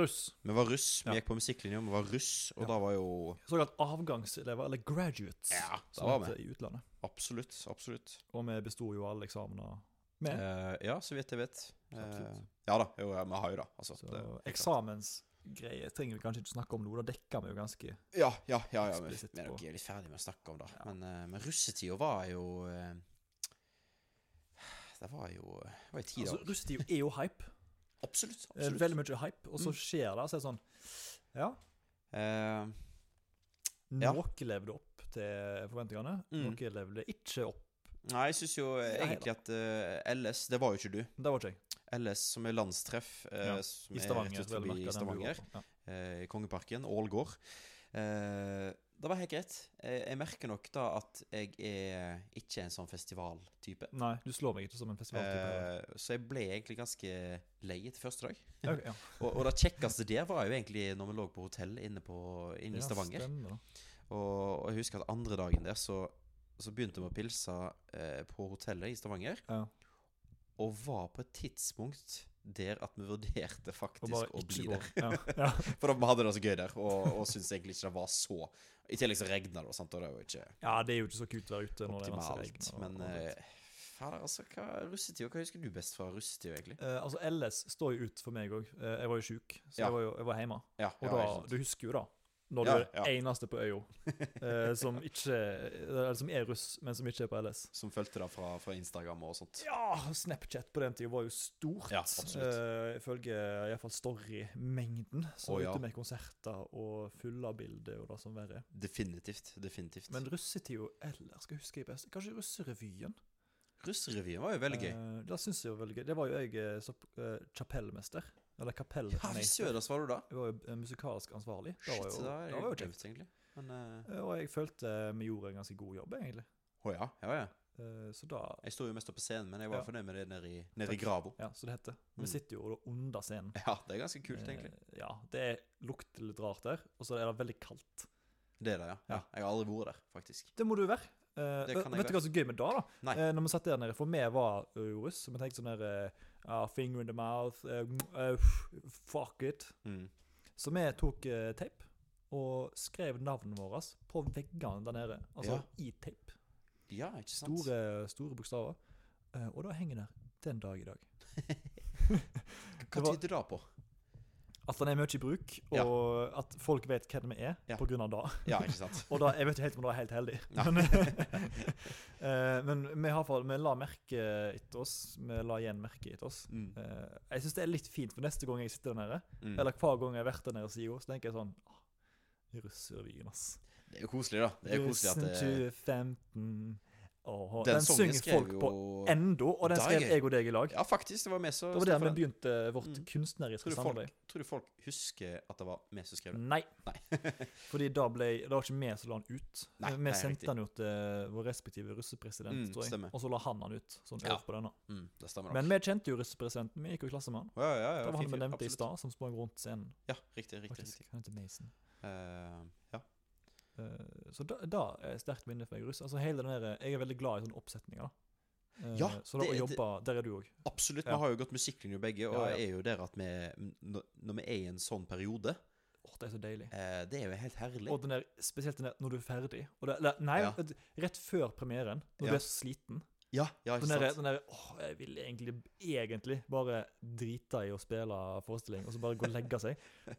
Speaker 2: russ.
Speaker 1: Vi var russ, vi
Speaker 2: Ja.
Speaker 1: gikk på musikklinja, vi var russ, og
Speaker 2: Ja.
Speaker 1: da var jo
Speaker 2: Såkalt avgangselever, eller graduates,
Speaker 1: Ja, da
Speaker 2: som
Speaker 1: var
Speaker 2: heter i utlandet.
Speaker 1: Absolutt, absolutt.
Speaker 2: Og vi besto jo alle eksamener. med.
Speaker 1: Eh, ja, så vidt jeg vet. Eh,
Speaker 2: Absolutt.
Speaker 1: ja da, jo, ja, vi har jo det. Altså,
Speaker 2: Så
Speaker 1: det er klart.
Speaker 2: eksamensgreier trenger vi kanskje ikke snakke om nå. Da dekker vi jo ganske
Speaker 1: Ja, ja, ja, ja vi,
Speaker 2: Eksplisitt
Speaker 1: vi er
Speaker 2: på-
Speaker 1: nok litt ferdig med å snakke om det.
Speaker 2: Ja.
Speaker 1: Men, eh, men russetida var jo eh, Det var jo Det var jo ti
Speaker 2: altså,
Speaker 1: dager.
Speaker 2: Russetid er jo hype.
Speaker 1: absolutt.
Speaker 2: Eh,
Speaker 1: absolutt. Mm.
Speaker 2: Veldig mye hype. Og så skjer det, så er det sånn Ja,
Speaker 1: Eh, Ja.
Speaker 2: noe levde opp til forventningene.
Speaker 1: Mm.
Speaker 2: Noe levde ikke opp.
Speaker 1: nei, jeg syns jo eh,
Speaker 2: Nei
Speaker 1: egentlig at eh, LS Det var jo ikke du.
Speaker 2: Det var ikke jeg.
Speaker 1: LS, som er landstreff eh,
Speaker 2: Ja,
Speaker 1: som
Speaker 2: I
Speaker 1: er
Speaker 2: Stavanger.
Speaker 1: rett ut forbi Stavanger, eh, i Kongeparken, Ål gård. Eh, det var helt greit. Eh, jeg merker nok da at jeg er ikke en sånn festivaltype.
Speaker 2: Nei, du slår meg ikke som en festivaltype.
Speaker 1: Eh, så jeg ble egentlig ganske lei etter første dag.
Speaker 2: Ok,
Speaker 1: [laughs]
Speaker 2: ja.
Speaker 1: Og, og det kjekkeste der var jo egentlig når vi lå på hotell inne, på, inne i Stavanger.
Speaker 2: Ja, stemmer da.
Speaker 1: Og, og jeg husker at andre dagen der så, så begynte vi å pilse eh, på hotellet i Stavanger.
Speaker 2: Ja.
Speaker 1: Og var på et tidspunkt der at vi vurderte
Speaker 2: Og
Speaker 1: faktisk
Speaker 2: bare
Speaker 1: å
Speaker 2: ikke
Speaker 1: bli
Speaker 2: gå.
Speaker 1: der. [laughs]
Speaker 2: Ja, ja.
Speaker 1: For da vi hadde det så gøy der, og, og syntes egentlig ikke det var så I tillegg så regna det, sant, og det var jo ikke
Speaker 2: ja, det er jo ikke så kult å være ute når det er masse regn.
Speaker 1: optimalt.
Speaker 2: og-
Speaker 1: Men
Speaker 2: og sånt.
Speaker 1: eh, fader, altså, hva russetida? Hva husker du best fra russetida, egentlig?
Speaker 2: Eh, altså, LS står jo ut for meg òg. jeg var jo sjuk, så
Speaker 1: Ja.
Speaker 2: jeg var jo jeg var hjemme.
Speaker 1: Ja,
Speaker 2: Og
Speaker 1: ja,
Speaker 2: da,
Speaker 1: ikke sant.
Speaker 2: du husker jo da, når du
Speaker 1: Ja,
Speaker 2: er
Speaker 1: ja.
Speaker 2: eneste på
Speaker 1: [laughs]
Speaker 2: øya eh, som ikke Eller som er russ, men som ikke er på LS.
Speaker 1: Som fulgte det fra, fra Instagram og sånt.
Speaker 2: Ja, Snapchat på den tida var jo stort.
Speaker 1: Ja, absolutt.
Speaker 2: Eh, ifølge iallfall Story-mengden. Så
Speaker 1: Å, ja.
Speaker 2: ute med konserter og fulle av bilder og det som verre.
Speaker 1: Definitivt. Definitivt.
Speaker 2: Men russetida ellers, skal jeg huske jeg best Kanskje Russerevyen?
Speaker 1: Russerevyen var jo veldig gøy.
Speaker 2: Eh, det syns jeg var veldig gøy. Det var jo jeg eh, som eh, kapellmester. Eller
Speaker 1: Ja, fy
Speaker 2: kapellmester.
Speaker 1: søren, så var du da.
Speaker 2: Jeg var jo eh, musikalsk ansvarlig. Det
Speaker 1: Shit,
Speaker 2: var jo,
Speaker 1: det
Speaker 2: det var jo kjekt.
Speaker 1: glemt, egentlig. Men eh,
Speaker 2: Eh, Og jeg følte vi gjorde en ganske god jobb, egentlig.
Speaker 1: Å ja, ja, ja.
Speaker 2: Eh, Så da
Speaker 1: Jeg sto jo mest oppe på scenen, men jeg var
Speaker 2: Ja.
Speaker 1: fornøyd med det nede i, nede i
Speaker 2: Takk.
Speaker 1: grava.
Speaker 2: Ja, så det heter. Vi
Speaker 1: Mm.
Speaker 2: sitter jo da under scenen.
Speaker 1: Ja, det er ganske kult,
Speaker 2: Eh,
Speaker 1: egentlig.
Speaker 2: Ja, Det lukter litt rart der, og så er det veldig kaldt.
Speaker 1: Det er det, ja. ja.
Speaker 2: Ja.
Speaker 1: Jeg har aldri vært der, faktisk.
Speaker 2: Det må du være. Eh,
Speaker 1: Det
Speaker 2: vet-
Speaker 1: kan jeg
Speaker 2: vet du hva som er gøy med det, da?
Speaker 1: Nei.
Speaker 2: Eh, når vi satt der nede, For vi var eh, jo russ, så vi tenkte sånn der eh, ah, Finger in the mouth. eh, mm, eh, fuck it.
Speaker 1: Mm.
Speaker 2: Så vi tok eh, teip og skrev navnene våre på veggene der nede. Altså
Speaker 1: Ja.
Speaker 2: i teip.
Speaker 1: Ja, ikke sant?
Speaker 2: Store, store bokstaver. Eh, og da henger det den dag i dag.
Speaker 1: Hva
Speaker 2: var-
Speaker 1: tyder det på?
Speaker 2: At den er mye i bruk, og at folk vet hvem vi er
Speaker 1: Ja.
Speaker 2: på grunn av det.
Speaker 1: Ja, ikke sant?
Speaker 2: Og da, jeg vet ikke helt om det er helt heldig.
Speaker 1: Nei.
Speaker 2: Men, [laughs] eh, men vi, har, fått- vi la merke etter oss. Vi la igjen merke etter oss.
Speaker 1: Mm.
Speaker 2: Eh, jeg syns det er litt fint, for neste gang jeg sitter der nede,
Speaker 1: Mm.
Speaker 2: eller hver gang jeg har vært der nede siden, så tenker jeg sånn ah, Russerevyen, ass.
Speaker 1: Det er jo koselig, da. Det er jo koselig at
Speaker 2: Russen
Speaker 1: det,
Speaker 2: 2015 Åh, Den,
Speaker 1: den
Speaker 2: synger
Speaker 1: sangen skrev
Speaker 2: folk
Speaker 1: jo
Speaker 2: på endo, og den
Speaker 1: Da er
Speaker 2: skrev
Speaker 1: jeg-
Speaker 2: jeg og deg i lag.
Speaker 1: Ja, faktisk. Det var vi som
Speaker 2: det var
Speaker 1: stod
Speaker 2: der
Speaker 1: for
Speaker 2: vi
Speaker 1: den.
Speaker 2: begynte vårt
Speaker 1: Mm.
Speaker 2: kunstneriske
Speaker 1: Tror du, folk,
Speaker 2: samarbeid.
Speaker 1: tror du folk husker at det var vi som skrev det?
Speaker 2: Nei.
Speaker 1: [laughs]
Speaker 2: Fordi da ble Det var ikke vi som la han ut.
Speaker 1: Nei,
Speaker 2: vi
Speaker 1: nei, riktig.
Speaker 2: sendte han jo til vår respektive russepresident,
Speaker 1: Mm,
Speaker 2: tror jeg.
Speaker 1: stemmer.
Speaker 2: Og så la han han ut. Sånn
Speaker 1: Ja.
Speaker 2: over på denne.
Speaker 1: Mm, det stemmer nok.
Speaker 2: Men vi kjente jo russepresidenten. Vi gikk jo i klasse med han.
Speaker 1: Ja, ja, ja, fint,
Speaker 2: Det var han vi
Speaker 1: fint,
Speaker 2: nevnte i
Speaker 1: absolutt.
Speaker 2: stad, som sprang rundt scenen.
Speaker 1: Ja, riktig. riktig,
Speaker 2: faktisk.
Speaker 1: riktig.
Speaker 2: Han heter Mason.
Speaker 1: Eh, ja.
Speaker 2: Eh, så da, da er et sterkt minne for meg russ. Altså hele den der, Jeg er veldig glad i sånne oppsetninger. Eh,
Speaker 1: Ja,
Speaker 2: så da
Speaker 1: det-
Speaker 2: å
Speaker 1: det-
Speaker 2: jobbe Der er du òg.
Speaker 1: Absolutt. Vi
Speaker 2: Ja.
Speaker 1: har jo gått musikklinje begge, og
Speaker 2: Ja, ja.
Speaker 1: er jo der at vi n- Når vi er i en sånn periode
Speaker 2: Åh, det er så deilig.
Speaker 1: eh, Det er jo helt herlig.
Speaker 2: Og den der, spesielt den der når du er ferdig. Og det, eller, nei,
Speaker 1: Ja.
Speaker 2: at- rett før premieren, når
Speaker 1: Ja.
Speaker 2: du er så sliten.
Speaker 1: Ja, ja
Speaker 2: Den
Speaker 1: ikke
Speaker 2: der,
Speaker 1: sant?
Speaker 2: den der åh, jeg vil egentlig, egentlig bare drite i å spille forestilling, og så bare gå og
Speaker 1: [laughs]
Speaker 2: legge seg.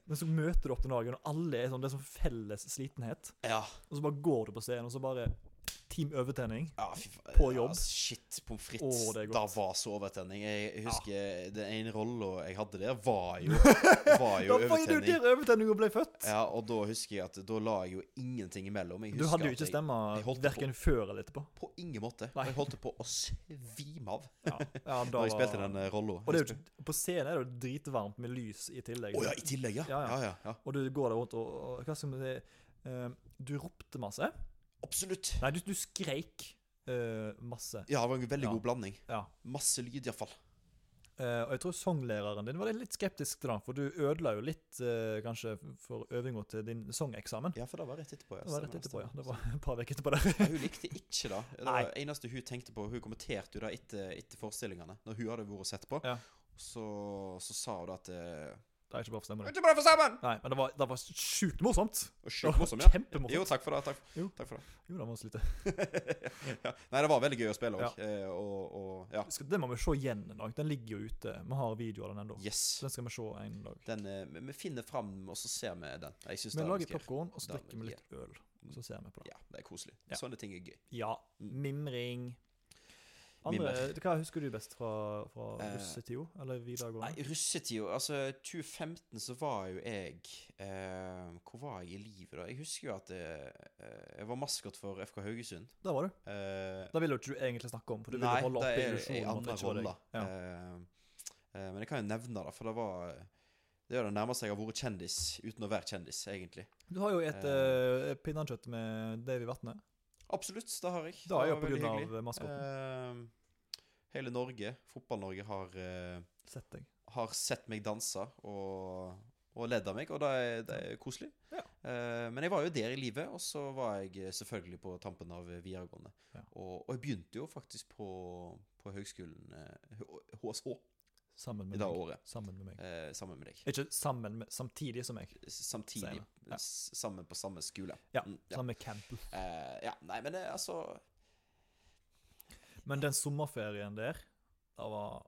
Speaker 2: Men så møter du opp den dagen, og alle er sånn, det er sånn felles slitenhet.
Speaker 1: Ja.
Speaker 2: Og så bare går du på scenen, og så bare Team overtenning.
Speaker 1: Ja, fy faen.
Speaker 2: På jobb.
Speaker 1: Ja, shit, pommes frites.
Speaker 2: Å, det er
Speaker 1: da
Speaker 2: godt.
Speaker 1: var så overtenning. Jeg jeg husker den ene rolla jeg hadde der, var
Speaker 2: [laughs]
Speaker 1: jo, var jo
Speaker 2: Da var jo
Speaker 1: overtenning.
Speaker 2: der overtenninga ble født!
Speaker 1: Ja, og da husker jeg at da la jeg jo ingenting imellom. Jeg
Speaker 2: Du
Speaker 1: husker
Speaker 2: hadde jo
Speaker 1: at
Speaker 2: ikke
Speaker 1: jeg
Speaker 2: stemma
Speaker 1: jeg holdt på.
Speaker 2: verken før eller etterpå.
Speaker 1: På ingen måte.
Speaker 2: Nei.
Speaker 1: Jeg holdt på å svime av
Speaker 2: Ja,
Speaker 1: [laughs]
Speaker 2: ja, da
Speaker 1: da jeg
Speaker 2: var-
Speaker 1: spilte den eh, rolla.
Speaker 2: Og det er jo ikke, på scenen er det jo dritvarmt med lys i tillegg.
Speaker 1: Å ja, i tillegg, ja. Ja,
Speaker 2: Ja, ja.
Speaker 1: ja. ja,
Speaker 2: Og du går der rundt og, og Hva skal vi si eh, Du ropte masse.
Speaker 1: Absolutt.
Speaker 2: Nei, du, du skreik eh, masse.
Speaker 1: Ja, det var en veldig
Speaker 2: Ja.
Speaker 1: god blanding.
Speaker 2: Ja.
Speaker 1: Masse lyd, iallfall.
Speaker 2: Eh, og jeg tror sanglæreren din var litt skeptisk til det, for du ødela jo litt eh, kanskje for øvinga til din sangeksamen.
Speaker 1: Ja, for det var rett etterpå. Ja.
Speaker 2: Det var rett
Speaker 1: Stemmer,
Speaker 2: etterpå, ja.
Speaker 1: stemmer.
Speaker 2: Det var et par uker etterpå der. [laughs]
Speaker 1: Ja, hun likte ikke det. Det var
Speaker 2: Nei.
Speaker 1: det eneste hun tenkte på. Hun kommenterte jo det etter, etter forestillingene, når hun hadde vært og sett på.
Speaker 2: Ja.
Speaker 1: Så, så sa hun da at eh,
Speaker 2: Det er ikke bra for stemmen.
Speaker 1: Ikke bare for sammen!
Speaker 2: Nei, men det var, det var sjukt morsomt.
Speaker 1: Og
Speaker 2: Det
Speaker 1: sjukt
Speaker 2: var
Speaker 1: morsom, ja. Jo,
Speaker 2: Kjempemorsomt.
Speaker 1: takk for det. Takk,
Speaker 2: Jo.
Speaker 1: takk for det.
Speaker 2: Jo, det må vi slutte.
Speaker 1: ja. Nei, det var veldig gøy å spille òg. Og, og ja.
Speaker 2: Skal- Den må vi se igjen en dag. Den ligger jo ute. Vi har video av den ennå.
Speaker 1: Yes.
Speaker 2: Så Den skal vi se en dag.
Speaker 1: Den, eh, vi- vi finner fram, og så ser vi den. Jeg synes
Speaker 2: Vi
Speaker 1: det er
Speaker 2: lager
Speaker 1: ganske-
Speaker 2: popkorn, og så
Speaker 1: Det er
Speaker 2: drikker vi litt øl. Og så ser vi på det.
Speaker 1: Ja, det er koselig.
Speaker 2: Ja.
Speaker 1: Sånne ting er gøy.
Speaker 2: Ja.
Speaker 1: Mm.
Speaker 2: Mimring. Andre,
Speaker 1: Mimmer.
Speaker 2: Hva husker du best fra, fra
Speaker 1: Eh,
Speaker 2: russetida? Eller
Speaker 1: Nei,
Speaker 2: videregående?
Speaker 1: russetida Altså, 2015 så var jo jeg eh, Hvor var jeg i livet da? Jeg husker jo at eh, eh, jeg var maskot for FK Haugesund.
Speaker 2: Der var du.
Speaker 1: Eh,
Speaker 2: Da ville jo ikke du egentlig snakke om, for du
Speaker 1: nei,
Speaker 2: ville holde
Speaker 1: det er
Speaker 2: oppe
Speaker 1: ei
Speaker 2: illusjonen. om at
Speaker 1: annen
Speaker 2: det ikke var
Speaker 1: rolle,
Speaker 2: deg.
Speaker 1: da.
Speaker 2: Ja.
Speaker 1: Eh, eh, men jeg kan jo nevne det, for det var Det er jo det nærmeste jeg har vært kjendis uten å være kjendis, egentlig.
Speaker 2: Du har jo et
Speaker 1: Eh.
Speaker 2: uh, pinnekjøtt med Davy Vatne.
Speaker 1: Absolutt, det har jeg.
Speaker 2: Da er
Speaker 1: Det var
Speaker 2: jo på grunn
Speaker 1: veldig hyggelig.
Speaker 2: av maskoten.
Speaker 1: Eh, hele Norge, Fotball-Norge, har, eh,
Speaker 2: Sett deg.
Speaker 1: har sett meg danse og, og ledd av meg, og det er, det er koselig.
Speaker 2: Ja.
Speaker 1: Eh, men jeg var jo der i livet, og så var jeg selvfølgelig på tampen av videregående.
Speaker 2: Ja.
Speaker 1: Og, og jeg begynte jo faktisk på, på høgskolen eh, H- HSH
Speaker 2: Sammen
Speaker 1: i
Speaker 2: med
Speaker 1: det
Speaker 2: meg.
Speaker 1: året,
Speaker 2: Sammen med meg.
Speaker 1: eh, sammen med deg.
Speaker 2: Ikke sammen med, samtidig som meg.
Speaker 1: S- Samtidig,
Speaker 2: Senere, ja.
Speaker 1: s- sammen på samme skole.
Speaker 2: Ja,
Speaker 1: Mm, ja.
Speaker 2: Sammen med Campbell.
Speaker 1: Eh, ja, nei, men det, altså
Speaker 2: Men den sommerferien der, det var,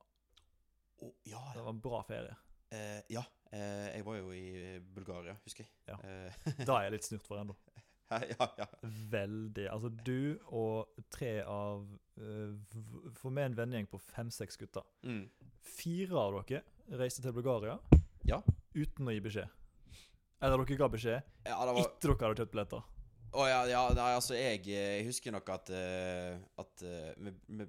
Speaker 1: Å, Ja,
Speaker 2: det var en bra ferie.
Speaker 1: eh, ja. Eh, jeg var jo i Bulgaria, husker jeg.
Speaker 2: Ja.
Speaker 1: Eh, [laughs]
Speaker 2: Da er jeg litt snurt for ennå.
Speaker 1: ja, ja.
Speaker 2: Veldig. Altså, du og tre av eh, v- For meg en vennegjeng på fem-seks gutter.
Speaker 1: Mm.
Speaker 2: Fire av dere reiste til Bulgaria
Speaker 1: Ja.
Speaker 2: uten å gi beskjed. Eller dere ga beskjed
Speaker 1: Ja, det var
Speaker 2: etter dere hadde kjøpt billetter.
Speaker 1: Å ja, ja, nei, altså, jeg, jeg husker nok at eh, At eh, vi, vi,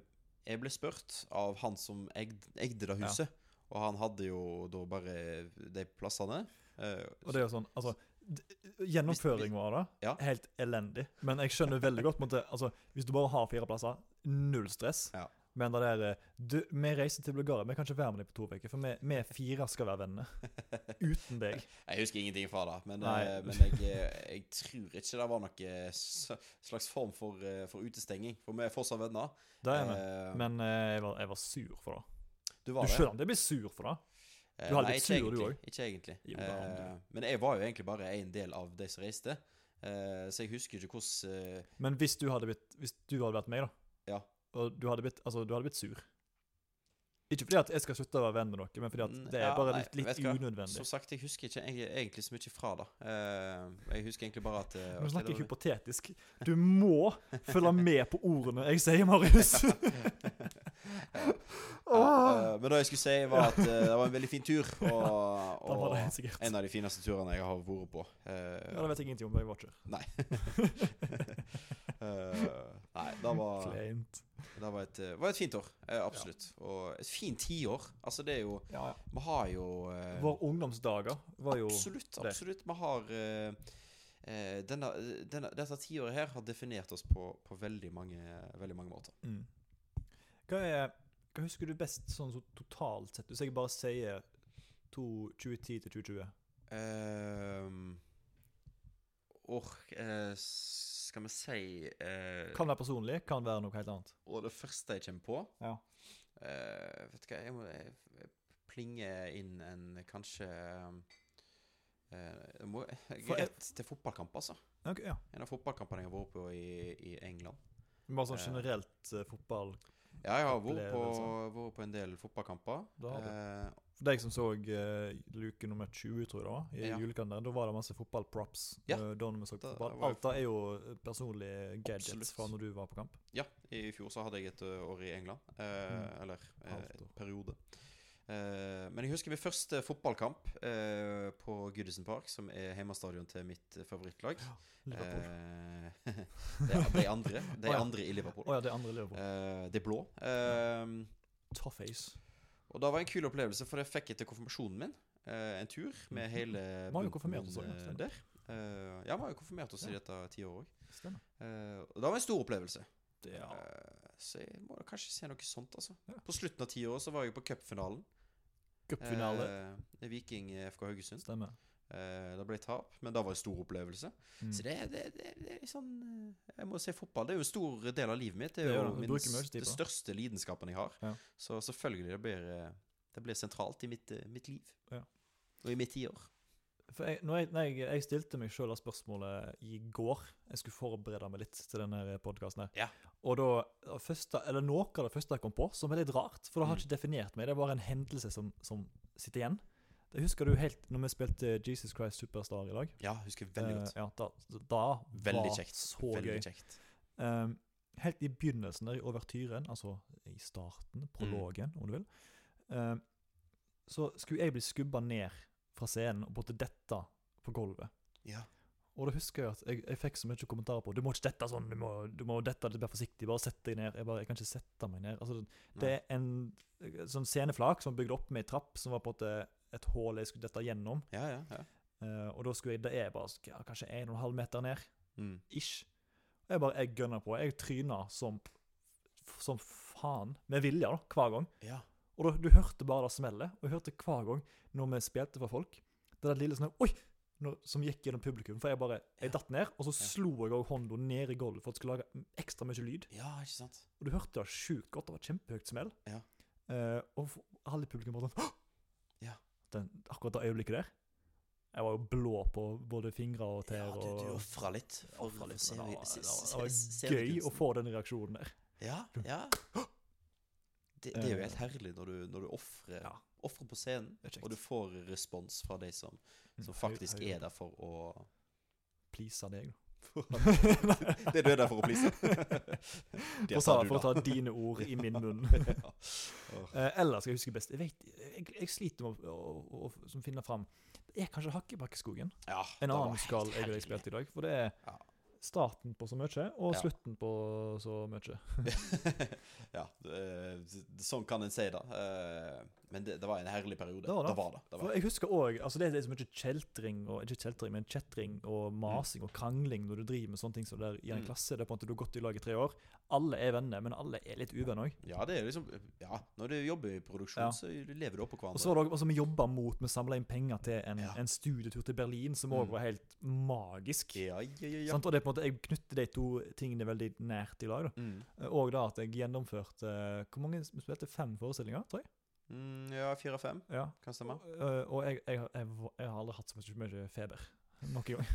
Speaker 1: jeg ble spurt av han som eid- eide det huset. Og han hadde jo da bare de plassene. eh,
Speaker 2: Og det er jo sånn, altså d- Gjennomføringa av det
Speaker 1: Ja.
Speaker 2: helt elendig. Men jeg skjønner veldig godt på en måte, altså, Hvis du bare har fire plasser, null stress.
Speaker 1: Ja.
Speaker 2: Men det der eh, du, Vi reiser til Bulgaria, vi kan ikke være med deg på to uker, for vi, vi fire skal
Speaker 1: [laughs]
Speaker 2: være venner. Uten deg.
Speaker 1: Jeg husker ingenting fra det, men,
Speaker 2: Nei.
Speaker 1: eh, men jeg, jeg tror ikke det var noen slags form for, eh, for utestenging. For vi er fortsatt venner.
Speaker 2: Det er vi.
Speaker 1: Eh,
Speaker 2: Men eh, jeg, var, jeg var sur for det.
Speaker 1: du
Speaker 2: Du
Speaker 1: var det.
Speaker 2: skjønner at jeg blir sur for det.
Speaker 1: Eh,
Speaker 2: Du har
Speaker 1: nei,
Speaker 2: litt
Speaker 1: ikke
Speaker 2: sur, du
Speaker 1: egentlig,
Speaker 2: også.
Speaker 1: Ikke egentlig.
Speaker 2: Jo, det har du.
Speaker 1: Eh, men jeg var jo egentlig bare en del av de som reiste, eh, så jeg husker ikke hvordan eh,
Speaker 2: Men hvis du hadde blitt, hvis du hadde vært meg, da
Speaker 1: Ja.
Speaker 2: Og du hadde blitt, altså, du hadde blitt sur. Ikke fordi at jeg skal slutte å være venn med dere, men fordi at
Speaker 1: Mm,
Speaker 2: det er
Speaker 1: ja,
Speaker 2: bare
Speaker 1: nei,
Speaker 2: litt, litt
Speaker 1: vet du hva?
Speaker 2: unødvendig.
Speaker 1: Som sagt, jeg husker ikke eg- egentlig så mye fra det. Eh, jeg husker egentlig bare at eh,
Speaker 2: Nå
Speaker 1: ok,
Speaker 2: snakker
Speaker 1: det
Speaker 2: jeg
Speaker 1: var- [laughs]
Speaker 2: hypotetisk. Du må følge med på ordene jeg sier, Marius. [laughs]
Speaker 1: Ja, eh, Men det jeg skulle si, var at eh, det var en veldig fin tur.
Speaker 2: [laughs]
Speaker 1: Og,
Speaker 2: Da var
Speaker 1: og
Speaker 2: det helt sikkert.
Speaker 1: en av de fineste turene jeg har vært på. Eh,
Speaker 2: Ja, det vet jeg ingenting om, for jeg var ikke
Speaker 1: Nei. Eh, nei, det var,
Speaker 2: kleint.
Speaker 1: det var, et, eh, var et fint år. eh, absolutt. Og et fint tiår. Altså, det er jo
Speaker 2: Ja, ja.
Speaker 1: Vi har jo eh,
Speaker 2: Våre ungdomsdager var jo
Speaker 1: Absolutt,
Speaker 2: der.
Speaker 1: absolutt. Vi har eh, eh, denne, denne, Dette tiåret her har definert oss på, på veldig, mange, veldig mange måter.
Speaker 2: mm. hva, er, hva husker du best sånn så totalt sett? Hvis jeg bare sier to- 2010 til 2020.
Speaker 1: Ehm, Å, Åh, eh, skal vi si eh,
Speaker 2: Kan være personlig, kan være noe helt annet.
Speaker 1: Og det første jeg kommer på
Speaker 2: Ja.
Speaker 1: eh, Vet du hva, jeg må jeg, jeg plinge inn en kanskje eh, jeg må, jeg
Speaker 2: For
Speaker 1: er
Speaker 2: jeg-
Speaker 1: rett til fotballkamp, altså.
Speaker 2: Ok, ja.
Speaker 1: En av fotballkampene jeg har vært på i, i England.
Speaker 2: Bare sånn
Speaker 1: Eh.
Speaker 2: generelt eh, fotball.
Speaker 1: Ja, jeg har vært på,
Speaker 2: Opplevelse.
Speaker 1: vært på en del fotballkamper.
Speaker 2: Da har du.
Speaker 1: Eh,
Speaker 2: For deg som så eh, luke nummer 20, tror jeg det var, i
Speaker 1: Ja.
Speaker 2: julekalenderen, da var det masse fotballprops.
Speaker 1: Ja.
Speaker 2: eh, Da når vi så
Speaker 1: Da
Speaker 2: fotball.
Speaker 1: var jo-
Speaker 2: Alt det er jo eh, personlige gadgets
Speaker 1: Absolutt.
Speaker 2: fra når du var på kamp.
Speaker 1: Ja, i fjor så hadde jeg et ø, år i England. eh,
Speaker 2: Mm.
Speaker 1: Eller eh,
Speaker 2: Halvt
Speaker 1: et
Speaker 2: år.
Speaker 1: periode. Eh, men jeg husker min første fotballkamp eh, på Goodison Park, som er hjemmestadion til mitt eh,
Speaker 2: [gasps]
Speaker 1: favorittlag.
Speaker 2: Liverpool.
Speaker 1: Eh, [laughs] det er de andre. De
Speaker 2: Å ja.
Speaker 1: andre i
Speaker 2: Å
Speaker 1: Liverpool.
Speaker 2: ja, det andre Liverpool.
Speaker 1: Eh, de blå. Eh,
Speaker 2: Toughace.
Speaker 1: og da var det en kul opplevelse, for det fikk jeg til konfirmasjonen min. Eh, en tur med
Speaker 2: Mhm.
Speaker 1: hele
Speaker 2: Vi har
Speaker 1: bunten
Speaker 2: jo konfirmert oss
Speaker 1: min,
Speaker 2: også,
Speaker 1: eh,
Speaker 2: stemmer.
Speaker 1: der. Eh, ja, vi har jo konfirmert oss i
Speaker 2: Ja.
Speaker 1: dette tiåret òg.
Speaker 2: Stemmer.
Speaker 1: Eh, og da var det en stor opplevelse.
Speaker 2: Det, ja.
Speaker 1: Eh, Så jeg må da kanskje se noe sånt, altså.
Speaker 2: Ja.
Speaker 1: På slutten av tiåret så var jeg på cupfinalen.
Speaker 2: Cupfinale.
Speaker 1: Eh, Viking eh, FK Haugesund.
Speaker 2: Stemmer.
Speaker 1: Eh, det ble tap, men det var en stor opplevelse.
Speaker 2: Mm.
Speaker 1: Så det, det, det, det er litt sånn eh, Jeg må se fotball. Det er jo en stor del av livet mitt. Det
Speaker 2: Det
Speaker 1: er
Speaker 2: er
Speaker 1: jo
Speaker 2: det. Du
Speaker 1: min,
Speaker 2: bruker mye
Speaker 1: s-
Speaker 2: tid
Speaker 1: det
Speaker 2: på
Speaker 1: største lidenskapen jeg har.
Speaker 2: Ja.
Speaker 1: Så selvfølgelig, det blir, eh, det blir sentralt i mitt, eh, mitt liv.
Speaker 2: Ja.
Speaker 1: Og i mitt tiår.
Speaker 2: For jeg, når jeg, når jeg, jeg stilte meg sjøl det spørsmålet i går. Jeg skulle forberede meg litt til denne podkasten.
Speaker 1: Ja.
Speaker 2: Og da, det første, eller noe av det første jeg kom på, som er litt rart, for det har
Speaker 1: Mm.
Speaker 2: ikke definert meg, det var en hendelse som, som sitter igjen. Det husker du helt når vi spilte Jesus Christ Superstar i dag.
Speaker 1: Ja, husker veldig godt.
Speaker 2: Eh, ja, da, da
Speaker 1: Veldig
Speaker 2: var
Speaker 1: kjekt.
Speaker 2: så
Speaker 1: veldig
Speaker 2: gøy.
Speaker 1: kjekt.
Speaker 2: Ehm, helt i begynnelsen, der i overtyren, altså i starten, prologen, om du vil, ehm, så skulle jeg bli skubba ned fra scenen og måtte dette på gulvet.
Speaker 1: Ja.
Speaker 2: Og da husker jeg at jeg, jeg fikk så mye kommentarer på Du må ikke dette sånn, du må, du må dette litt mer forsiktig, bare sett deg ned. Jeg bare, jeg kan ikke sette meg ned. Altså, det, det er en eh, sånn sceneflak som var bygd opp med ei trapp, som var på en måte et hull jeg skulle dette gjennom.
Speaker 1: Ja, ja, ja.
Speaker 2: Eh, og da skulle jeg, det er bare sk- ja, kanskje 1,5 meter ned,
Speaker 1: Mm.
Speaker 2: ish. Og jeg bare, jeg gønner på. Jeg tryner som, som faen, med vilje da, hver gang.
Speaker 1: ja.
Speaker 2: Og du, du hørte bare det smellet, og jeg hørte hver gang når vi spilte for folk, det der lille sånn Oi! Nå, som gikk gjennom publikum. For jeg bare jeg
Speaker 1: Ja.
Speaker 2: datt ned, og så slo jeg òg hånda ned i gulvet for at det skulle lage ekstra mye lyd.
Speaker 1: ja, ikke sant?
Speaker 2: Og du hørte det sjukt godt. Det var kjempehøyt smell.
Speaker 1: Ja.
Speaker 2: Eh, og f- alle i publikum bare sånn «Hå!»
Speaker 1: Ja.
Speaker 2: Den, Akkurat det øyeblikket der. Jeg var jo blå på både fingre og tær.
Speaker 1: Ja, du, du
Speaker 2: og
Speaker 1: ofra litt.
Speaker 2: Jeg
Speaker 1: for-
Speaker 2: offret litt,
Speaker 1: for
Speaker 2: men det var-
Speaker 1: seri-
Speaker 2: det
Speaker 1: se-
Speaker 2: var,
Speaker 1: se-
Speaker 2: det var gøy å
Speaker 1: seriekunsten.
Speaker 2: få den reaksjonen der.
Speaker 1: Ja, ja. [gasps] Det, det er jo helt herlig når du, når du offrer
Speaker 2: Eh. Ja.
Speaker 1: offrer på scenen,
Speaker 2: Det er kjekt.
Speaker 1: og du får respons fra de som, som
Speaker 2: Mm,
Speaker 1: faktisk
Speaker 2: høy- høy-
Speaker 1: er der for å
Speaker 2: [laughs]
Speaker 1: [laughs]
Speaker 2: Please deg, da. [laughs]
Speaker 1: Det du er der for å please. [laughs]
Speaker 2: For å, ta, for å ta dine ord i min munn. [laughs]
Speaker 1: [laughs] Ja.
Speaker 2: Eh, eller skal jeg huske best Jeg, vet, jeg, jeg sliter med å, å, å, å som finne fram. Det er kanskje Hakkebakkeskogen.
Speaker 1: Ja, det
Speaker 2: En
Speaker 1: var
Speaker 2: annen
Speaker 1: helt
Speaker 2: skal jeg og
Speaker 1: herlig.
Speaker 2: deg spilte i dag. For det er
Speaker 1: Ja.
Speaker 2: starten på så mye, og
Speaker 1: Ja.
Speaker 2: slutten på så mye.
Speaker 1: [laughs] ja, det- det- sånn kan en si det. Eh, Men det, det var en herlig periode.
Speaker 2: Det var det.
Speaker 1: Det var det. det, var
Speaker 2: For
Speaker 1: det.
Speaker 2: jeg husker også, altså Det er så mye kjeltring og ikke kjeltring, men kjetring og masing og krangling når du driver med sånne ting som det der i en
Speaker 1: Mm.
Speaker 2: klasse. Det er på en måte Du har gått i lag i tre år. Alle er venner, men alle er litt uvenner òg.
Speaker 1: Ja, det er liksom Ja, når du jobber i produksjon,
Speaker 2: Ja.
Speaker 1: så lever du oppå
Speaker 2: Og
Speaker 1: hverandre.
Speaker 2: så var det også altså, vi jobba mot Vi samla inn penger til en,
Speaker 1: Ja.
Speaker 2: en studietur til Berlin, som
Speaker 1: Mm.
Speaker 2: òg var helt magisk.
Speaker 1: Ja, ja, ja. ja.
Speaker 2: Sant? Og det er på en måte, Jeg knytter de to tingene veldig nært i lag. da.
Speaker 1: Mm.
Speaker 2: Og da at jeg gjennomførte eh, Hvor mange vi spilte? Fem forestillinger, tror jeg?
Speaker 1: Mm, ja, fire-fem,
Speaker 2: Ja.
Speaker 1: kan stemme.
Speaker 2: Eh, Og jeg, jeg, jeg, var- jeg har aldri hatt så mye- mye feber. Noen gang.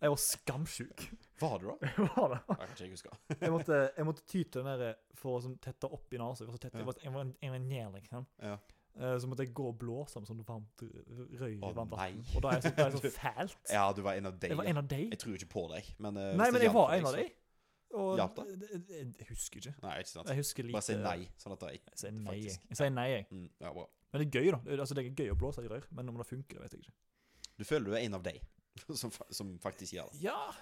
Speaker 2: Jeg var skamsjuk.
Speaker 1: Var [laughs] det da?
Speaker 2: Jeg var det.
Speaker 1: Jeg kan ikke huske.
Speaker 2: Jeg måtte, jeg måtte ty til den der for å sånn tette opp i nesa. Jeg var så tett- jeg var- jeg var en- jeg var en njel, liksom.
Speaker 1: Ja.
Speaker 2: Eh, Så måtte jeg gå og blåse med sånn varmt r- røyr i
Speaker 1: Å,
Speaker 2: varmt vann.
Speaker 1: nei.
Speaker 2: Og da er det så,
Speaker 1: [laughs]
Speaker 2: da er det så fælt.
Speaker 1: Ja, du var en av de.
Speaker 2: Jeg var en av deg.
Speaker 1: Jeg tror ikke på deg, men eh,
Speaker 2: Nei,
Speaker 1: hvis
Speaker 2: men
Speaker 1: det
Speaker 2: jeg
Speaker 1: hjalp
Speaker 2: var
Speaker 1: for deg,
Speaker 2: en av
Speaker 1: så-
Speaker 2: deg. Og
Speaker 1: Hjalp
Speaker 2: det- det- Jeg husker ikke.
Speaker 1: Nei, ikke sant.
Speaker 2: Jeg husker lite.
Speaker 1: Bare si nei, sånn at det ikke
Speaker 2: Jeg sier nei, jeg.
Speaker 1: faktisk.
Speaker 2: Jeg sier nei, jeg.
Speaker 1: mm, Ja, bra.
Speaker 2: Men det er gøy, da. Det er- Altså, det er gøy å blåse i rør, men om det funker, det vet jeg ikke.
Speaker 1: Du føler du er en av de [laughs] som, fa- som faktisk gjør det.
Speaker 2: Ja.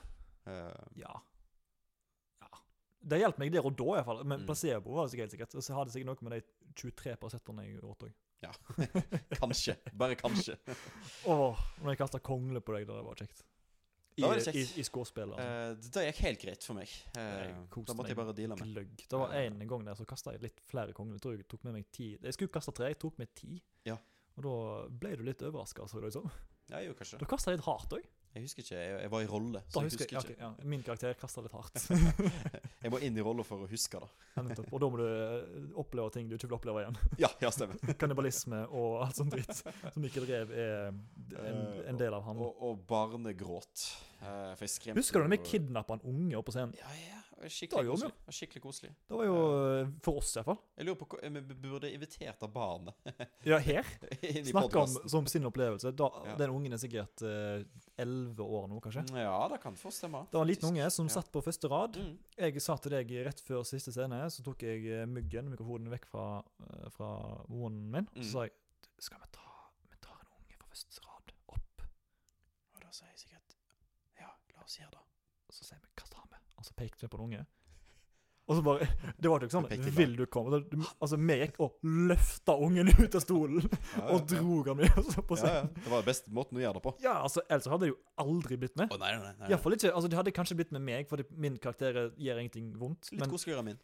Speaker 1: Eh,
Speaker 2: Ja. ja. Det hjalp meg der og da, iallfall. Men
Speaker 1: Mm.
Speaker 2: placebo var det sikkert helt sikkert. Og så hadde det sikkert noe med de 23 Paracetene jeg åt òg.
Speaker 1: kanskje. Bare kanskje.
Speaker 2: Åh, når jeg kasta kongle på deg, da det var kjekt. [laughs] I,
Speaker 1: Da var det kjekt.
Speaker 2: i, i skåspillet. Altså.
Speaker 1: Eh, det gikk helt greit for meg. Eh,
Speaker 2: Jeg koste
Speaker 1: da måtte jeg
Speaker 2: meg
Speaker 1: bare deale med.
Speaker 2: Gløgg. Det var
Speaker 1: eh.
Speaker 2: en gang der så kasta jeg litt flere kongler. Jeg tror jeg tok med meg ti. Jeg skulle kaste tre, jeg tok med ti.
Speaker 1: Ja.
Speaker 2: Og da ble du litt altså, overraska, så det ut som.
Speaker 1: Ja, jo, kanskje.
Speaker 2: Da kasta jeg litt hardt òg.
Speaker 1: Jeg husker ikke. Jeg, jeg var i rolle,
Speaker 2: Da
Speaker 1: så jeg
Speaker 2: husker
Speaker 1: husker
Speaker 2: jeg,
Speaker 1: ikke.
Speaker 2: ja, ok, ja, Min karakter kasta litt hardt.
Speaker 1: [laughs] Jeg må inn i rolla for å huske det.
Speaker 2: Ja, nettopp. Og da må du eh, oppleve ting du ikke vil oppleve igjen. [laughs]
Speaker 1: Ja, ja, stemmer.
Speaker 2: Kannibalisme og alt sånt dritt. Som Mikkel Rev er en, en del av han.
Speaker 1: Eh, Og, og barnegråt. Eh, for jeg skremte
Speaker 2: Husker du når vi
Speaker 1: jo-
Speaker 2: kidnappa en unge opp på scenen?
Speaker 1: Ja, ja. det var
Speaker 2: Da
Speaker 1: Skikkelig
Speaker 2: gjorde vi
Speaker 1: koselig. Det var Skikkelig koselig.
Speaker 2: Det var jo eh, For oss, iallfall.
Speaker 1: Jeg lurer på hva- om vi burde invitert av barnet [laughs]
Speaker 2: Ja, her.
Speaker 1: inn i
Speaker 2: Snakk om
Speaker 1: podkasten.
Speaker 2: som sin opplevelse. Da,
Speaker 1: Ja.
Speaker 2: Den ungen er sikkert eh, elleve år nå, kanskje.
Speaker 1: Mm, Ja, det kan få stemme.
Speaker 2: Det var en liten unge som
Speaker 1: Ja.
Speaker 2: satt på første rad.
Speaker 1: Mm.
Speaker 2: Jeg sa til deg rett før siste scene, så tok jeg eh, myggen, mikrofonen, vekk fra, eh, fra munnen min. Og
Speaker 1: Mm.
Speaker 2: så sa jeg Skal vi ta Vi tar en unge fra første rad opp,
Speaker 1: Og da sier jeg sikkert Ja, la oss gjøre det.
Speaker 2: og så sier vi Hva tar vi? Og så pekte vi på en unge. Og så bare [laughs] Det var jo ikke
Speaker 1: Du pekte
Speaker 2: sånn
Speaker 1: i dag.
Speaker 2: Vil du komme? Da- Altså, vi gikk og løfta ungen ut av stolen [laughs] og dro han med oss opp på
Speaker 1: ja, ja.
Speaker 2: scenen.
Speaker 1: Det var den beste måten å gjøre det på.
Speaker 2: Ja, altså, ellers hadde jeg jo aldri blitt med.
Speaker 1: Å nei, nei, nei, nei.
Speaker 2: Iallfall ikke Altså, det hadde kanskje blitt med meg, fordi min karakter gjør ingenting vondt.
Speaker 1: Litt koseligere
Speaker 2: [laughs]
Speaker 1: min.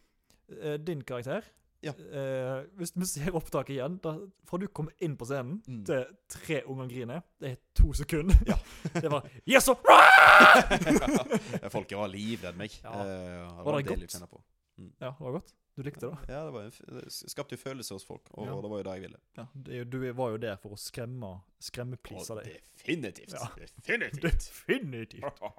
Speaker 2: Eh, din karakter
Speaker 1: Ja.
Speaker 2: eh, Hvis vi ser opptaket igjen, da, fra du kommer inn på scenen
Speaker 1: Mm.
Speaker 2: til tre unger griner Det er to sekunder.
Speaker 1: Ja.
Speaker 2: [laughs] det var Yes, og
Speaker 1: Folk var livredde meg.
Speaker 2: Ja.
Speaker 1: Eh,
Speaker 2: Var det
Speaker 1: en del
Speaker 2: godt?
Speaker 1: å kjenne på.
Speaker 2: Ja, det var godt. Du likte det?
Speaker 1: Ja, det, var en, f- det skapte jo følelser hos folk, og
Speaker 2: Ja.
Speaker 1: det var jo det jeg ville.
Speaker 2: Ja, det, er jo- du var jo der for å skremme skremmeplise
Speaker 1: Og
Speaker 2: deg.
Speaker 1: definitivt.
Speaker 2: Ja.
Speaker 1: Definitivt.
Speaker 2: Definitivt.
Speaker 1: Oi,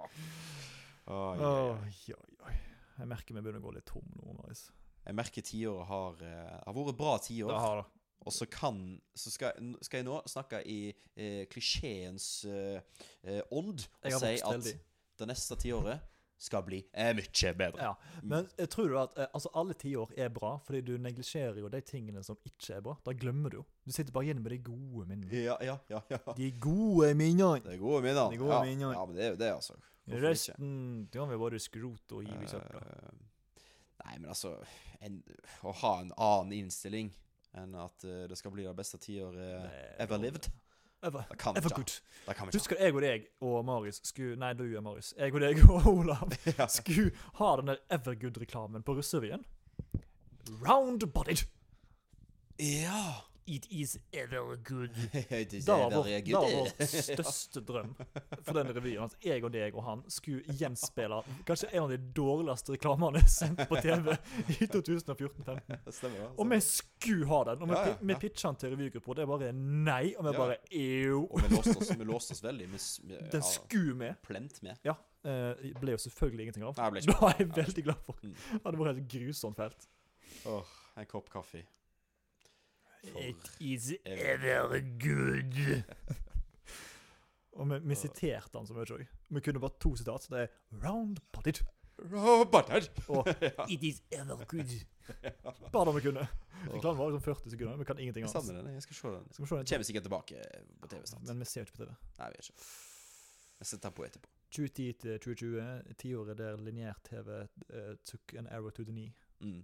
Speaker 1: oi, oi.
Speaker 2: Oi, oi, oi. Jeg merker vi begynner å gå litt tom nå. Marius.
Speaker 1: Jeg merker tiåret har, eh, har vært bra tiår.
Speaker 2: Det har det.
Speaker 1: Og så kan Så skal, n- skal jeg nå snakke i eh, klisjeens eh, eh, ånd og
Speaker 2: Jeg har
Speaker 1: si
Speaker 2: vokst
Speaker 1: at
Speaker 2: veldig.
Speaker 1: det neste tiåret skal bli eh, mye bedre.
Speaker 2: Ja. Men jeg tror du at eh, altså, alle tiår er bra, fordi du neglisjerer jo de tingene som ikke er bra. Da glemmer du jo. Du sitter bare igjen med de gode minnene.
Speaker 1: Ja, ja, ja. ja.
Speaker 2: De gode minnene.
Speaker 1: [laughs] Det er gode minner.
Speaker 2: Det er gode
Speaker 1: ja.
Speaker 2: minner.
Speaker 1: ja, men det er jo det, altså. Hvorfor
Speaker 2: Resten det kan vi bare skrote og gi i søpla.
Speaker 1: Eh, nei, men altså en, Å ha en annen innstilling enn at eh, det skal bli det beste tiåret ever lived.
Speaker 2: Ever,
Speaker 1: Det kan vi
Speaker 2: ever
Speaker 1: ikke.
Speaker 2: good.
Speaker 1: Det kan vi ikke.
Speaker 2: Husker jeg og deg og Marius skulle Nei, du er Marius. Jeg og deg og [laughs] Olav
Speaker 1: [laughs] Ja.
Speaker 2: skulle ha den der Evergood-reklamen på russerevyen. Round-bodied.
Speaker 1: ja.
Speaker 2: It is evergood.
Speaker 1: [laughs] Det
Speaker 2: Det var
Speaker 1: er
Speaker 2: vår,
Speaker 1: der jeg
Speaker 2: det var
Speaker 1: [laughs]
Speaker 2: vår
Speaker 1: er.
Speaker 2: største drøm for den revyen. At jeg og deg og han skulle gjenspeile kanskje en av de dårligste reklamene sendt på TV i 2014-15.
Speaker 1: Stemmer det.
Speaker 2: Og vi skulle ha den. Og vi,
Speaker 1: Ja, ja,
Speaker 2: pi- vi
Speaker 1: ja.
Speaker 2: pitcha den til revygruppa, og det er bare nei. Og vi
Speaker 1: Ja.
Speaker 2: bare jo.
Speaker 1: Og vi låste oss, vi låste oss veldig. Vi, s- vi ja,
Speaker 2: Den skulle med.
Speaker 1: plent med.
Speaker 2: Ja. eh, ble jo selvfølgelig ingenting av.
Speaker 1: Nei, det ble
Speaker 2: Det
Speaker 1: ikke
Speaker 2: var jeg veldig glad for.
Speaker 1: Mm.
Speaker 2: Det hadde vært et grusomt felt. [laughs]
Speaker 1: Åh, en kopp kaffe. For-
Speaker 2: is ever good. og vi, vi siterte han så mye òg. Vi kunne bare to sitat. Det er round potted
Speaker 1: [laughs] Roboter!
Speaker 2: og it is ever
Speaker 1: [laughs]
Speaker 2: good. Bare det vi kunne. Reklamen var liksom 40 sekunder. Vi kan ingenting
Speaker 1: Jeg
Speaker 2: annet.
Speaker 1: savner den. Jeg skal se den.
Speaker 2: Skal vi se den?
Speaker 1: Kommer sikkert tilbake på TV snart.
Speaker 2: Men vi ser jo ikke på TV.
Speaker 1: Nei, vi gjør ikke. Jeg setter den på etterpå.
Speaker 2: 2010 til 2020, tiåret der lineær-TV eh, tok en arrow to the knee.
Speaker 1: Mm.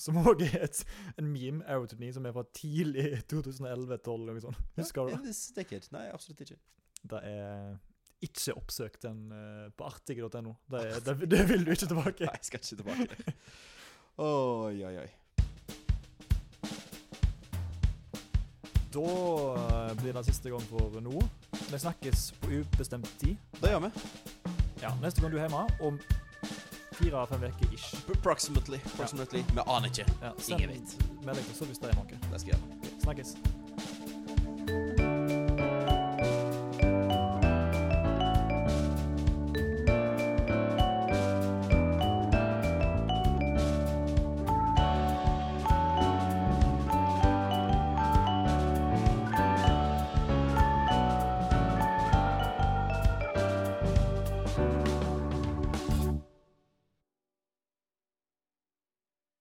Speaker 2: Som òg er et, en meme, arrow to the knee, som er fra tidlig [laughs] 2011-2012 eller noe sånt. Husker du
Speaker 1: Ja,
Speaker 2: det?
Speaker 1: det er sikkert. Nei, absolutt ikke.
Speaker 2: Det er ikke oppsøkt den eh, på artige.no. Det, er- det, det vil du ikke tilbake.
Speaker 1: Nei, jeg skal ikke tilbake
Speaker 2: [laughs]
Speaker 1: der. Oi, oi, oi.
Speaker 2: Da eh, blir det siste gang for nå. Vi snakkes på ubestemt tid.
Speaker 1: Det gjør vi.
Speaker 2: Ja, Neste gang du er hjemme, om fire-fem uker ish.
Speaker 1: Approximately. Approximately. Vi aner ikke.
Speaker 2: Ja,
Speaker 1: Ingen vet.
Speaker 2: melding til oss hvis det er noe.
Speaker 1: Det skal jeg gjøre.
Speaker 2: Snakkes.